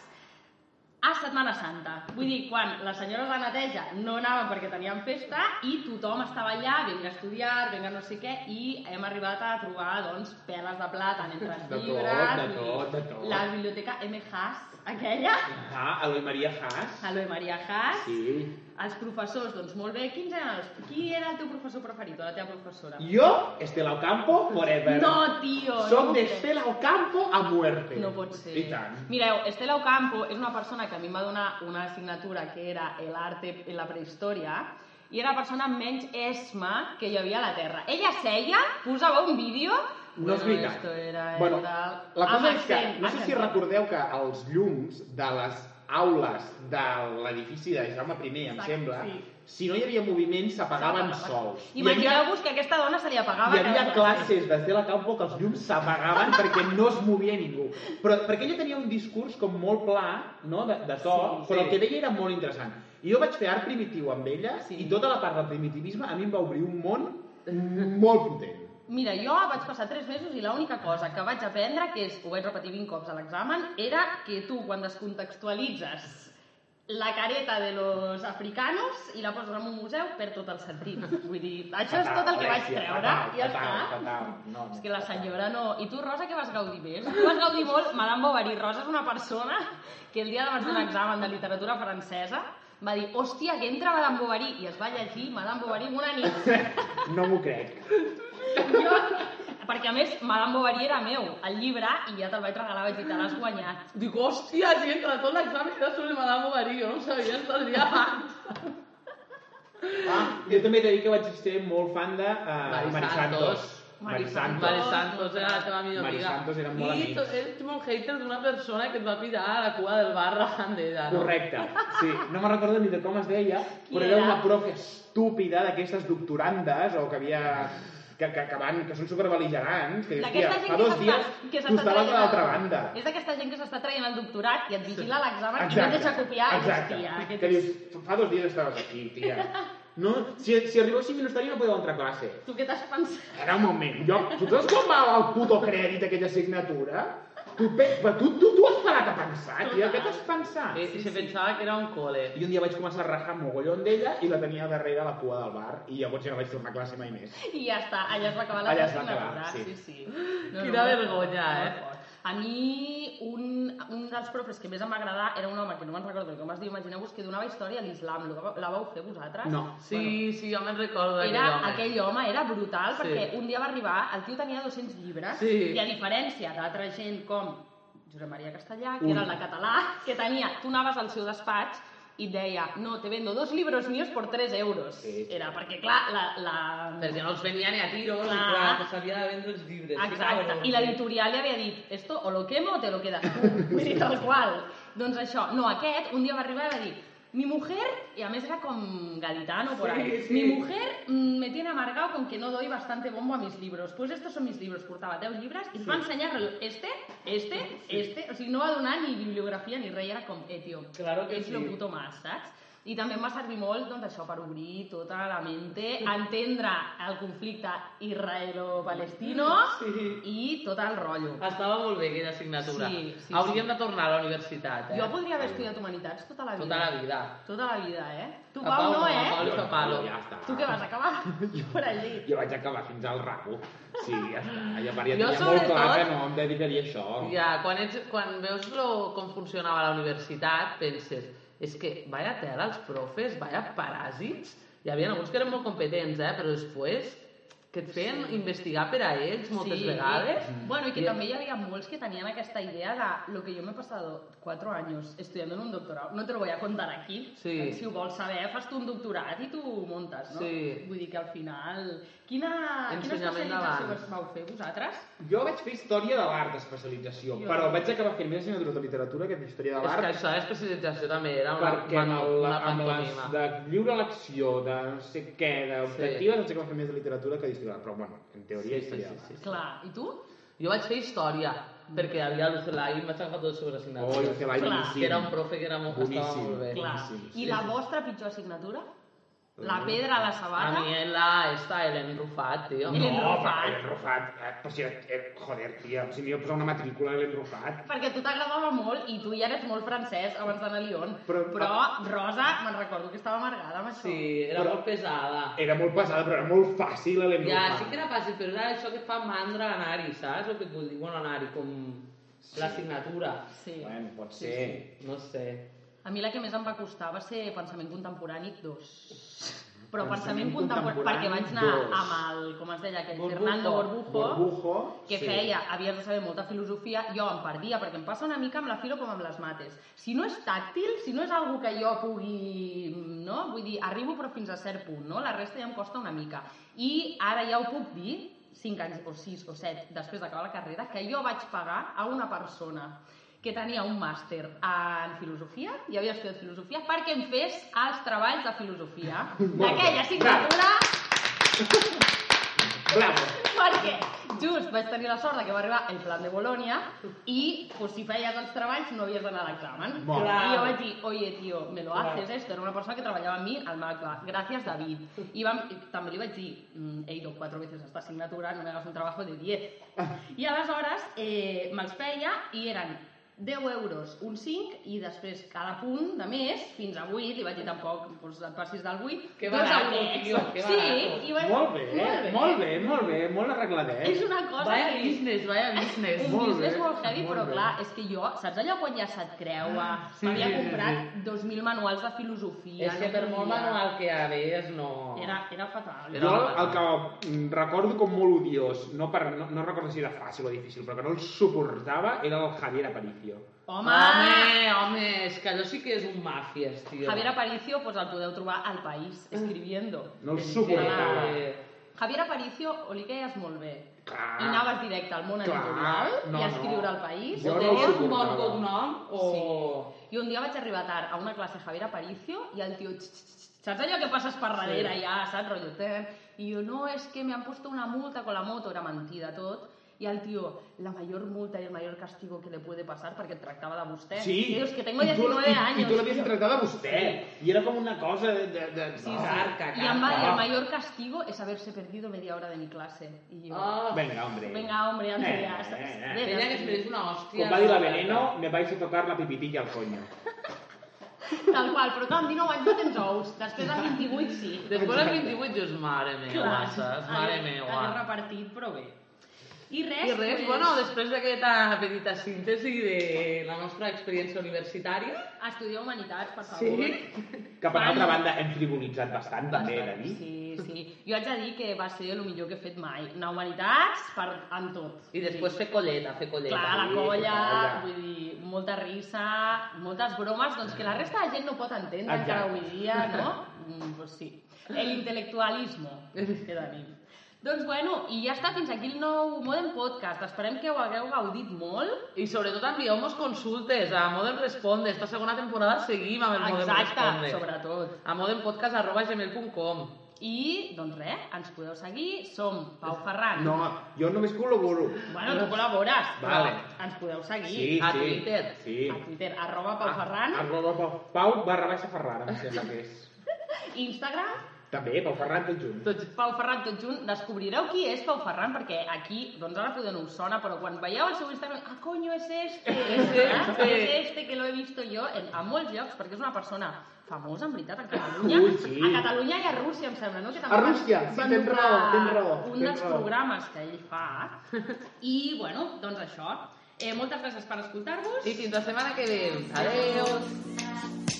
a Setmana Santa. Vull dir, quan les senyores de neteja no anaven perquè tenien festa i tothom estava allà, vinga a estudiar, vinga no sé què, i hem arribat a trobar, doncs, peles de plàtan entre els (laughs) De tot, llibres. de vull tot, dir, de tot. La biblioteca M. Haas, aquella, Ah, Eloi Maria Haas. Aloe Maria Haas. Sí. Els professors, doncs molt bé, quins eren els... Qui era el teu professor preferit o la teva professora? Jo, Estela Ocampo, forever. No, tio. Som no de pot ser. Estela Ocampo a muerte. No pot ser. I tant. Mireu, Estela Ocampo és una persona que a mi em va donar una assignatura que era el arte en la prehistòria i era la persona menys esma que hi havia a la Terra. Ella seia, posava un vídeo... No és veritat. Esto era Ah, bueno, el del... la Amb cosa és que, accent, no sé si accent. recordeu que els llums de les aules de l'edifici de Jaume I, em Exacte, sembla, sí. si no hi havia moviment, s'apagaven sols. Imagineu-vos que a aquesta dona se li apagava... hi havia cada- classes d'Estela Campo que els llums (laughs) s'apagaven perquè no es movia ningú. Però, perquè ella tenia un discurs com molt pla, no?, de, de to, sí, però el que deia era molt interessant. I jo vaig fer art primitiu amb ella Sí. i tota la part del primitivisme a mi em va obrir un món molt potent. Mira, jo vaig passar 3 mesos i l'única cosa que vaig aprendre, que és, ho vaig repetir 20 cops a l'examen, era que tu, quan descontextualitzes la careta de los africanos i la poses en un museu, perd tot el sentit. Vull dir, això és tot el que vaig treure, ja està. No, És que la senyora no... I tu, Rosa, què vas gaudir més? Tu vas gaudir molt... Madame Bovary, Rosa és una persona que el dia d'abans d'un examen de literatura francesa va dir, hòstia, que entra Madame Bovary, i es va llegir Madame Bovary en una nit. no m'ho crec. Jo, perquè a més, Madame Bovary era meu, el llibre, i ja te'l vaig regalar, vaig dir, te l'has guanyat. Dic, hòstia, si entra tot l'examen serà sobre Madame Bovary, jo no ho sabia fins el dia abans. Ah, jo també he de dir que vaig ser molt fan de uh, Mari Santos. Mari Santos. Mari Santos era la teva millor Mari amiga. Santos era molt I amics. tu ets molt hater d'una persona que et va pirar a la cua del bar rajant d'ella, no? Correcte, sí. No me'n recordo ni de com es deia, Qui però era era? una profe estúpida d'aquestes doctorandes o que havia... Que, que, que, van, que són superbeligerants, que dius, D'aquesta "Tia, gent fa que dos s'està- dies que s'està tu estaves a traient l'altra el- banda. És d'aquesta gent que s'està traient el doctorat i et vigila l'examen i no et deixa copiar. i dius, Exacte. "Tia, aquest que és- dius, fa dos dies estaves aquí, tia. No, si, si arribeu 5 minuts tard jo no podeu entrar a classe. Tu què t'has pensat? Espera un moment, jo, tu saps com val el puto crèdit aquella assignatura? Tu, pe... però tu, tu, tu has parat a pensar, tia, què t'has pensat? Eh, se pensava que era un cole. I un dia vaig començar a rajar mogollon d'ella i la tenia darrere la cua del bar i llavors ja no vaig tornar a classe mai més. I ja està, allà es va acabar la Allà teva es va acabar, assignatura. sí. sí. Quina vergonya, eh? A mi, un, un dels profes que més em va agradar era un home, que no me'n recordo com es diu, imagineu-vos que donava història a l'islam. La vau- La vau fer vosaltres? No. Sí, sí, jo me'n recordo d'aquell Era, home. aquell home era brutal Sí. perquè un dia va arribar, el tio tenia 200 llibres Sí. i a diferència d'altra gent com Josep Maria Castellà, que Ui. era la català, que tenia, tu anaves al seu despatx i et deia, no, te vendo dos libros míos por 3 euros. Sí, sí. Era perquè, clar, la... la... Perquè no els venia ni a tiros, i Clar. clar, que s'havia de vendre els llibres. sí, Exacte. cabrón. I l'editorial li havia dit, esto o lo quemo o te lo (laughs) quedas tu. Vull dir, tal qual. Doncs això. No, aquest un dia va arribar i va dir, mi mujer, i a més era com gaditano por ahí, mi mujer mm, me tiene amargado con que no doy bastante bombo a mis libros. Pues estos son mis libros. Portava 10 llibres i ens va ensenyar el- este, este, este... O sigui, no va donar ni bibliografia ni res, era com, eh, tio, Claro que ets sí. lo puto más, saps? I també em va servir molt, doncs, això, per obrir tota la mente, entendre el conflicte israelo-palestino Sí. i tot el rotllo. Estava molt bé aquella assignatura. Sí, sí, Hauríem de tornar a la universitat, eh? Jo podria haver estudiat humanitats tota la vida. Tota la vida. Tota la vida, eh? Tu, A Pau, no, eh? A Pau li fa palo. Ja està. Tu què vas acabar? (laughs) Jo per allí. Jo vaig acabar fins al rabo. Sí, ja està. Ja, per, Jo, ja tenia molt sobretot- clar que no em dedicaria a això. Ja, quan, ets, quan veus lo, com funcionava la universitat, penses, és que vaya tela els profes, vaya paràsits. Hi havia alguns que eren molt competents, eh? Però després que et feien investigar per a ells moltes vegades. Mm. Bueno, y que también había muchos que tenían esta idea de lo que yo me he pasado cuatro años estudiando en un doctorado. No te lo voy a contar aquí. Sí. Si ho vols saber, fas tu un doctorat i tu ho muntes, no? Sí. Vull dir que al final... Quina, quina Ensenyament especialització d'abans. vau fer vosaltres? Jo vaig fer història de l'art d'especialització, Jo- però vaig acabar fent més assignatura de literatura que de història de És que l'art. això d'especialització també era una, perquè una, amb, la, una amb les pantomima. de lliure elecció, de no sé què, d'optatives, sí. em sé que va fer més de literatura que d'història, però bueno, en Sí, teoria sí, història. sí, sí, sí. Clar, i tu? Jo vaig fer història, perquè havia l'Ucelai i em vaig agafar tot sobre Oh, assignatura. el que va Clar. boníssim. Que era un profe que era molt, estava Boníssim. molt bé. Clar. sí, I la vostra pitjor assignatura? La pedra a la A sabata? eh. mi en la, esta, Ellen Rufat, tio. Ellen No, Rufat. però l'enrufat, eh, però si era, eh, joder, tia, si m'hi va posar una matrícula a l'enrufat. Perquè a tu t'agradava molt i tu ja eres molt francès abans d'anar a Lyon. Però, Però- Rosa, me'n recordo que estava amargada amb això. ah. Sí, era Però- molt pesada. Era molt pesada, però era molt fàcil a Ja, l'enrufat. sí que era fàcil, però era això que et fa mandra anar-hi, saps? El que et vull dir, bueno, anar-hi, com l'assignatura. Sí. Bueno, pot Sí, ser. sí, no sé. A mi la que més em va costar va ser Pensament Contemporani 2. Però Pensament, Pensament Contemporani, Contemporani perquè vaig anar dos. amb el, com es deia, aquell Borbujo. Fernando Borbujo, Borbujo, que sí. feia, havies de saber molta filosofia, jo em perdia, perquè em passa una mica amb la filo com amb les mates. Si no és tàctil, si no és algo que jo pugui... No? Vull dir, arribo però fins a cert punt, no? La resta ja em costa una mica. I ara ja ho puc dir, 5 anys, o 6 o 7, després d'acabar la carrera, que jo vaig pagar a una persona que tenia un màster en filosofia, i havia estudiat filosofia, perquè em fes (laughs) els treballs de filosofia bé. d'aquella assignatura Bravo. Perquè just vaig tenir la sort de que va arribar el plan de Bolònia i pues, si feies els treballs no havies d'anar a l'examen. Molt bé. I jo vaig dir, oye, tio, me lo haces esto. Era una persona que treballava amb mi al MACLA. Gràcies, David. I vam, i també li vaig dir, "Mm, he ido cuatro veces a esta asignatura, no me hagas un trabajo de 10. I aleshores eh, me'ls feia i eren 10 euros, un 5, i després cada punt de més, fins a 8, li vaig dir tampoc, doncs et passis del 8, Que dos barato, al tio, que barato. Sí, i vaig... Molt bé, molt bé. molt bé, molt bé, molt arregladet. És una cosa... Vaya que- business, vaya business. un Molt business bé, molt heavy, molt però bé. clar, és que jo, saps allò quan ja se't creua? Ah, Sí, M'havia sí, sí, comprat sí. 2.000 manuals de filosofia. És que no per molt podia. manual que havies, no... Era, era fatal. Era Jo una el que passada. mm, recordo com molt odiós, no, per, no, no recordo si era fàcil o difícil, però que no el suportava era el Javier Aparicio. Home! Home, home, home, és que allò sí que és un màfies, tio. Javier Aparicio, pues el podeu trobar al País, Ah. escribiendo. No el Sí. eh, suportava. Javier Aparicio, o li queies molt bé. Clar. I anaves directe al món Clar, editorial no, i a escriure no. al País. Jo O no tenies el un bon suportava. cognom o... I un dia vaig arribar tard a una classe de Javier Aparicio i el tio... "Tx, tx, tx", Saps allò que passes per darrere ja, saps, rotllo tem? I jo, no, és que me han puesto una multa con la moto, era mentida tot. I el tio, la mayor multa y el mayor castigo que le puede pasar perquè et tractava de vostè. I dius que tengo I tu- 19 i- años. I tu l'havies tio. tratat a vostè. I era com una cosa de... de, de Sí, sí. Carca, I em va dir, carca. el mayor castigo es haberse perdido media hora de mi clase. I jo, Oh, Venga, hombre. venga, hombre, Eh, Andrea, eh, saps? eh. Venga, Ella que es mereix una hòstia. Quan va dir la veneno, me vais a tocar la pipitilla al coño. Tal qual, però tu amb 19 anys no tens ous. Després a 28 sí. Després als 28 dius, mare meva, saps? Mare meva. L'he repartit, però bé. I res, I res, bueno, després d'aquesta petita síntesi de la nostra experiència universitària... Estudiar Humanitats, per favor. Que per Fan- altra banda hem frivolitzat bastant, també, he de dir. Sí, sí. Jo haig de dir que va ser el millor que he fet mai. Anar a Humanitats per, en tot. I després fer colleta, fer colleta. Clar, la sí, colla, colla. vull dir, molta risa, moltes bromes, doncs que la resta de gent no pot entendre Exacte. encara avui dia, no? Mm, pues sí. El intelectualisme que tenim. Doncs bueno, i ja està, fins aquí el nou Modem Podcast. Esperem que ho hagueu gaudit molt. I sobretot envieu-nos consultes a Modem Responde. Esta segona temporada seguim amb el Modem Exacte, Responde. sobretot. A modempodcast.gmail.com I, doncs res, ens podeu seguir. Som Pau Ferran. No, jo només col·laboro. Bueno, tu col·labores, però Vale. ens podeu seguir. Sí, a sí. Twitter. Sí. Ah. A Twitter, arroba Pau Ferran. Arroba Pau, Pau barra baixa Ferrara, em sembla que és. Instagram, També, Pau Ferran, tot junt. tot, Pau Ferran tot junt. Descobrireu qui és Pau Ferran, perquè aquí, doncs ara poder no us sona, però quan veieu el seu Instagram, ah, coño, és este, és (laughs) este, este. és este que lo he visto jo en, a molts llocs, perquè és una persona famosa, en veritat, a Catalunya. Ui, sí. A Catalunya i a Rússia, em sembla, no? Que també A Rússia, sí, tens doblar raó, tens raó, Un tens dels raó. programes que ell fa. I, bueno, doncs això. Eh, moltes gràcies per escoltar-vos. I fins la setmana que ve. Adéu.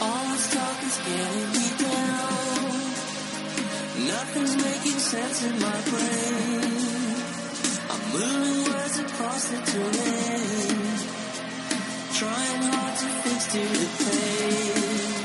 Always talking's getting me down. Nothing's making sense in my brain. I'm moving words across the terrain. Trying hard to fix to the pain.